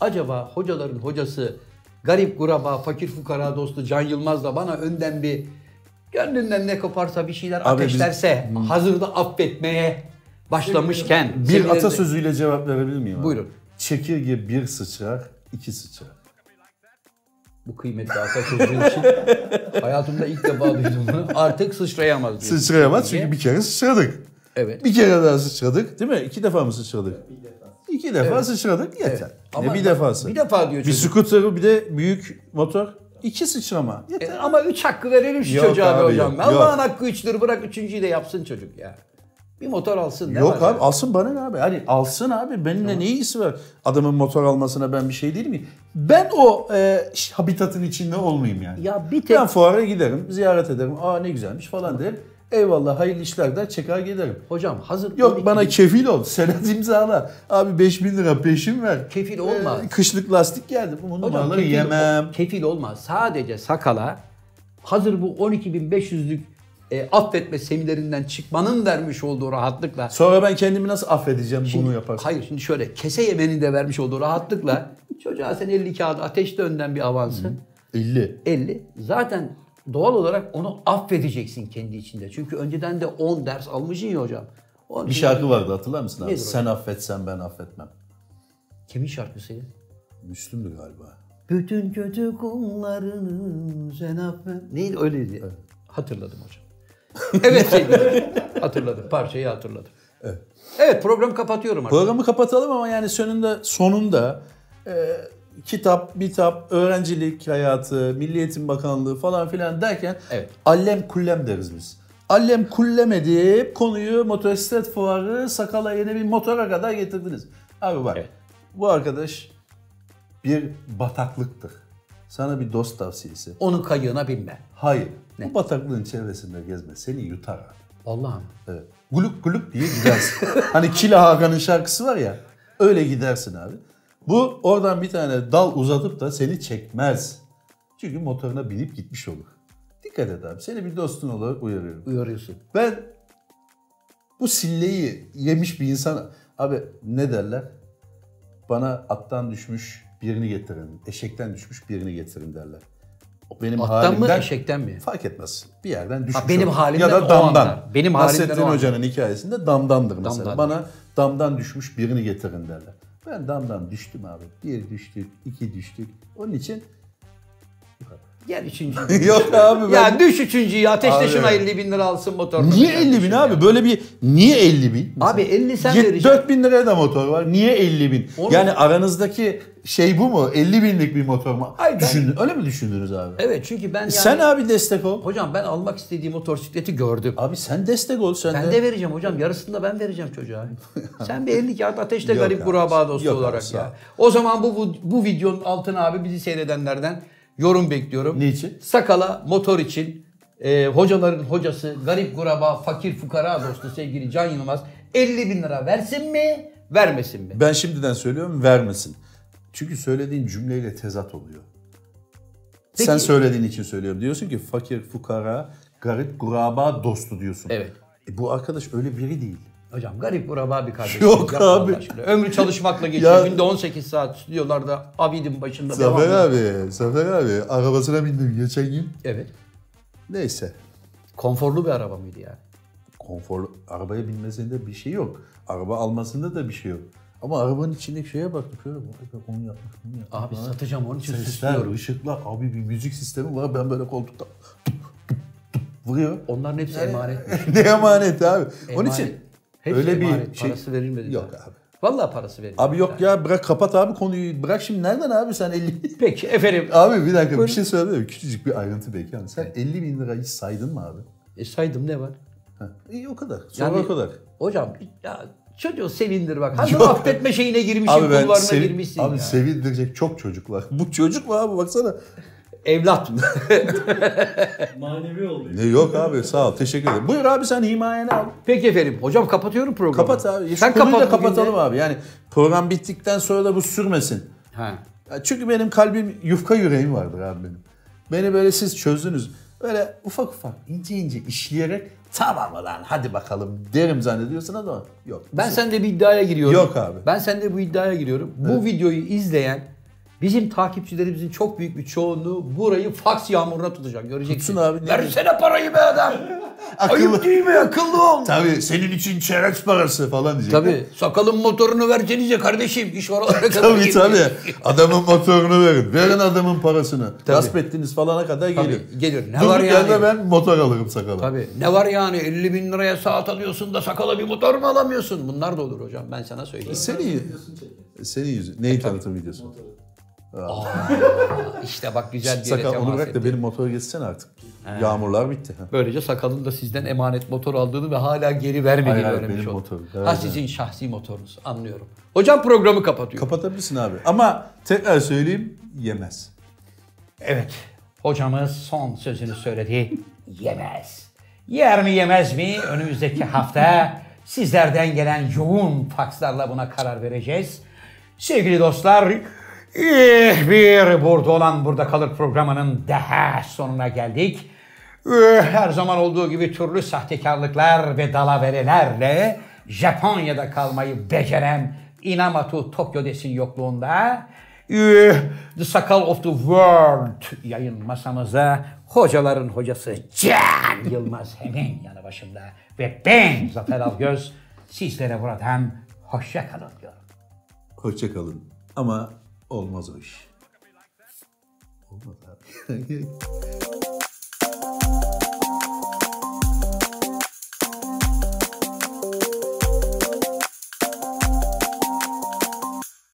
Speaker 3: acaba hocaların hocası garip guraba, fakir fukara dostu Can Yılmaz da bana önden bir gönlünden ne koparsa bir şeyler
Speaker 2: Abi biz-
Speaker 3: ateşlerse hazırda affetmeye başlamışken
Speaker 2: Bir
Speaker 3: seminerinde-
Speaker 2: atasözüyle cevap verebilir miyim? abi?
Speaker 3: Buyurun.
Speaker 2: Çekirge bir sıçrar, iki sıçrar.
Speaker 3: bu kıymetli atasözü için hayatımda ilk defa duydum bunu. Artık sıçrayamaz diyor.
Speaker 2: Sıçrayamaz çünkü bir kere sıçradık.
Speaker 3: Evet.
Speaker 2: Bir kere daha sıçradık değil mi? İki defa mı sıçradık?
Speaker 4: Bir defa.
Speaker 2: İki defa sıçradık yeter.
Speaker 3: Ama
Speaker 2: ne bir defası?
Speaker 3: Bir defa diyor
Speaker 2: Bir
Speaker 3: çocuk.
Speaker 2: skuterı bir de büyük motor. İki sıçrama.
Speaker 3: E,
Speaker 2: Yeter.
Speaker 3: ama üç hakkı verelim şu
Speaker 2: Yok
Speaker 3: çocuğa be
Speaker 2: abi,
Speaker 3: hocam.
Speaker 2: yok,
Speaker 3: Allah'ın
Speaker 2: yok.
Speaker 3: hakkı üçtür bırak üçüncüyü de yapsın çocuk ya. Bir motor alsın. ne
Speaker 2: Yok
Speaker 3: var
Speaker 2: abi alsın bana ne abi? Hani alsın abi. Benimle ne ilgisi var? Adamın motor almasına ben bir şey değil miyim? Ben o e, ş- habitatın içinde olmayayım yani.
Speaker 3: Ya bir tek-
Speaker 2: Ben fuara giderim, ziyaret ederim. Aa ne güzelmiş falan derim. Eyvallah hayırlı işler der çeker giderim.
Speaker 3: Hocam hazır
Speaker 2: Yok
Speaker 3: 12
Speaker 2: bana kefil ol. Senet imzala. Abi 5000 lira peşin ver.
Speaker 3: Kefil olma.
Speaker 2: Ee, kışlık lastik geldi. Bu
Speaker 3: Hocam
Speaker 2: numaraları yemem.
Speaker 3: Kefil olmaz. Sadece sakala hazır bu 12.500'lük e, affetme seminerinden çıkmanın vermiş olduğu rahatlıkla
Speaker 2: Sonra ben kendimi nasıl affedeceğim bunu yaparsam?
Speaker 3: Hayır şimdi şöyle kese yemenin de vermiş olduğu rahatlıkla çocuğa sen 50 kağıt ateşte önden bir avansı
Speaker 2: 50.
Speaker 3: 50 zaten doğal olarak onu affedeceksin kendi içinde. Çünkü önceden de 10 ders almışsın ya hocam. Onun
Speaker 2: Bir
Speaker 3: için-
Speaker 2: şarkı vardı hatırlar mısın abi?
Speaker 3: Nedir o?
Speaker 2: Sen affetsen ben affetmem.
Speaker 3: Kimin şarkısı ya?
Speaker 2: Müslüm'dü galiba.
Speaker 3: Bütün kötü kullarını sen affet. Neydi öyleydi? Hatırladım hocam. evet sevgilim. hatırladım. Parçayı hatırladım. Evet. Evet program kapatıyorum artık.
Speaker 2: Programı kapatalım ama yani sonunda sonunda e, kitap, bitap, öğrencilik hayatı, Milli Eğitim Bakanlığı falan filan derken
Speaker 3: Evet.
Speaker 2: allem kullem deriz biz. Allem kullem edip konuyu motosiklet fuarı sakala yeni bir motora kadar getirdiniz. Abi bak
Speaker 3: Evet.
Speaker 2: bu arkadaş bir bataklıktır. Sana bir dost tavsiyesi.
Speaker 3: Onun kayığına binme.
Speaker 2: Hayır. Bu bataklığın çevresinde gezme. Seni yutar abi.
Speaker 3: Allah'ım.
Speaker 2: Evet. Guluk guluk diye gidersin. hani Kila Hakan'ın şarkısı var ya. Öyle gidersin abi. Bu oradan bir tane dal uzatıp da seni çekmez. Çünkü motoruna binip gitmiş olur. Dikkat et abi. Seni bir dostun olarak uyarıyorum.
Speaker 3: Uyarıyorsun.
Speaker 2: Ben bu silleyi yemiş bir insan... Abi ne derler? Bana attan düşmüş birini getirin. Eşekten düşmüş birini getirin derler. O benim
Speaker 3: Attan mı
Speaker 2: halimden-
Speaker 3: eşekten mi?
Speaker 2: Fark etmez. Bir yerden düşmüş.
Speaker 3: Ha, benim
Speaker 2: olur.
Speaker 3: halimden
Speaker 2: ya da
Speaker 3: o
Speaker 2: damdan.
Speaker 3: anlar. Benim halimden
Speaker 2: Nasrettin
Speaker 3: o anlar.
Speaker 2: Hoca'nın hikayesinde damdandır mesela.
Speaker 3: Damdan.
Speaker 2: Bana damdan düşmüş birini getirin derler. Ben damdan düştüm abi. Bir düştük, iki düştük. Onun için
Speaker 3: Gel üçüncü.
Speaker 2: yok abi ben...
Speaker 3: ya düş üçüncüyü ateşleşin
Speaker 2: Abi.
Speaker 3: 50 bin lira alsın motor.
Speaker 2: niye 50 bin abi? Böyle bir niye 50 bin?
Speaker 3: Abi 50 sen vereceksin.
Speaker 2: 4 bin liraya da motor var. Niye 50 bin?
Speaker 3: Oğlum-
Speaker 2: Yani aranızdaki şey bu mu? 50 binlik bir motor mu?
Speaker 3: Hayır, ben-
Speaker 2: Düşündün, öyle mi düşündünüz abi?
Speaker 3: Evet çünkü ben yani...
Speaker 2: Sen abi destek ol.
Speaker 3: Hocam ben almak istediğim motosikleti gördüm.
Speaker 2: Abi sen destek ol sen
Speaker 3: Ben
Speaker 2: de.
Speaker 3: de vereceğim hocam. Yarısını da ben vereceğim çocuğa. Sen bir 50 kağıt ateşle
Speaker 2: Yok
Speaker 3: garip
Speaker 2: abi.
Speaker 3: kuraba dostu
Speaker 2: Yok abi,
Speaker 3: olarak
Speaker 2: sağ ol.
Speaker 3: ya. O zaman bu bu videonun altına abi bizi seyredenlerden yorum bekliyorum.
Speaker 2: Niçin?
Speaker 3: Sakala motor için e, hocaların hocası garip kuraba fakir fukara dostu sevgili Can Yılmaz 50 bin lira versin mi vermesin mi?
Speaker 2: Ben şimdiden söylüyorum vermesin. Çünkü söylediğin cümleyle tezat oluyor.
Speaker 3: Peki-
Speaker 2: Sen söylediğin için söylüyorum. Diyorsun ki fakir, fukara, garip, guraba dostu diyorsun.
Speaker 3: Evet.
Speaker 2: E bu arkadaş öyle biri değil.
Speaker 3: Hocam garip kuraba bir kardeşim.
Speaker 2: Yok
Speaker 3: Yapma Allah
Speaker 2: abi.
Speaker 3: aşkına. Ömrü çalışmakla geçiyor.
Speaker 2: Ya-
Speaker 3: Günde 18 saat stüdyolarda abidin başında.
Speaker 2: Zafer
Speaker 3: devamlı.
Speaker 2: abi, Zafer abi arabasına bindim geçen gün.
Speaker 3: Evet.
Speaker 2: Neyse.
Speaker 3: Konforlu bir araba mıydı yani?
Speaker 2: Konforlu, arabaya binmesinde bir şey yok. Araba almasında da bir şey yok. Ama arabanın içindeki şeye baktık. Şöyle, "Vay be, onu yapmış, bunu yapmış.
Speaker 3: Abi
Speaker 2: Vay be."
Speaker 3: satacağım onun için
Speaker 2: Sesler,
Speaker 3: süslüyorum.
Speaker 2: ışıklar, abi bir müzik sistemi var. Ben böyle koltukta tup, tup, tup vuruyor.
Speaker 3: Onların hepsi emanet.
Speaker 2: ne emanet abi. Onun
Speaker 3: Emanet.
Speaker 2: için
Speaker 3: Hepsi
Speaker 2: öyle bir
Speaker 3: emanet.
Speaker 2: şey-
Speaker 3: Parası verilmedi.
Speaker 2: Yok
Speaker 3: daha.
Speaker 2: abi.
Speaker 3: Vallahi parası verilmedi.
Speaker 2: abi yok
Speaker 3: daha.
Speaker 2: ya bırak kapat abi konuyu. Bırak şimdi nereden abi sen 50
Speaker 3: Peki efendim.
Speaker 2: Abi bir dakika bir şey söyleyeyim mi? Küçücük bir ayrıntı belki ama sen 50 bin lirayı saydın mı abi?
Speaker 3: E, saydım ne var?
Speaker 2: Ha. İyi o kadar. Sonra o kadar.
Speaker 3: Hocam ya çocuğu sevindir bak. Hazır
Speaker 2: Yok.
Speaker 3: affetme şeyine girmişsin,
Speaker 2: Abi ben
Speaker 3: kulvarına
Speaker 2: sevi-
Speaker 3: şey girmişsin
Speaker 2: abi
Speaker 3: ya.
Speaker 2: sevindirecek çok çocuk var. Bu çocuk mu abi baksana.
Speaker 3: Evlat.
Speaker 4: Manevi oluyor.
Speaker 2: Ne yok abi sağ ol teşekkür ederim. Buyur abi sen himayeni al.
Speaker 3: Peki efendim. Hocam kapatıyorum programı.
Speaker 2: Kapat abi. Şu
Speaker 3: Sen
Speaker 2: konuyu
Speaker 3: kapat
Speaker 2: da
Speaker 3: bugün de.
Speaker 2: kapatalım abi. Yani program bittikten sonra da bu sürmesin.
Speaker 3: Ha.
Speaker 2: Ya Çünkü benim kalbim yufka yüreğim vardır abi benim. Beni böyle siz çözdünüz. Böyle ufak ufak ince ince işleyerek tamam lan hadi bakalım derim zannediyorsun ama yok.
Speaker 3: Ben sende bir iddiaya giriyorum.
Speaker 2: Yok abi.
Speaker 3: Ben sende bu iddiaya giriyorum. Bu videoyu izleyen bizim takipçilerimizin çok büyük bir çoğunluğu burayı faks yağmuruna tutacak. Göreceksin.
Speaker 2: Tutsun abi, ne
Speaker 3: Versene parayı be adam.
Speaker 2: Akıllı-
Speaker 3: Ayıp değil mi? Akıllı ol.
Speaker 2: Tabii senin için çerez parası falan diyecek.
Speaker 3: Tabii. Sakalın motorunu versenize kardeşim. İş var olarak.
Speaker 2: Tabii tabii. Adamın motorunu verin. Verin adamın parasını. Gasp ettiniz falana kadar
Speaker 3: Tabii,
Speaker 2: geliyor.
Speaker 3: geliyor. Ne
Speaker 2: Durduk
Speaker 3: var yani?
Speaker 2: yerde ben motor alırım sakala.
Speaker 3: Tabii. Ne var yani 50 bin liraya saat alıyorsun da sakala bir motor mu alamıyorsun? Bunlar da olur hocam ben sana söyleyeyim.
Speaker 2: E, Seni,
Speaker 4: Videosunu çekin.
Speaker 2: senin yüzün. Neyi tanıtım videosu?
Speaker 3: işte bak güzel bir yere
Speaker 2: Sakal onu
Speaker 3: temas
Speaker 2: bırak da
Speaker 3: ettin.
Speaker 2: benim motoru geçsene artık. Yağmurlar bitti.
Speaker 3: Böylece sakalın da sizden emanet motor aldığını ve hala geri vermediğini
Speaker 2: Hayır, hayır,
Speaker 3: öğrenmiş
Speaker 2: benim
Speaker 3: oldum.
Speaker 2: motorum.
Speaker 3: Ha
Speaker 2: Evet,
Speaker 3: sizin şahsi motorunuz anlıyorum. Hocam programı kapatıyor.
Speaker 2: Kapatabilirsin abi. Ama tekrar söyleyeyim yemez.
Speaker 1: Evet, hocamız son sözünü söyledi. Yemez. Yer mi yemez mi? Önümüzdeki hafta sizlerden gelen yoğun fakslarla buna karar vereceğiz. Sevgili dostlar, eh, bir burada olan burada kalır programının daha sonuna geldik. Eh, Her zaman olduğu gibi türlü sahtekarlıklar ve dalaverelerle Japonya'da kalmayı beceren Inamatu Tokyo desin yokluğunda eh, The Sakal of the World yayın masamıza hocaların hocası Can Yılmaz hemen yanı başımda ve ben Zafer Algöz sizlere buradan hoşça kalın diyorum.
Speaker 2: Hoşça kalın. Ama olmaz o iş. Olmaz abi.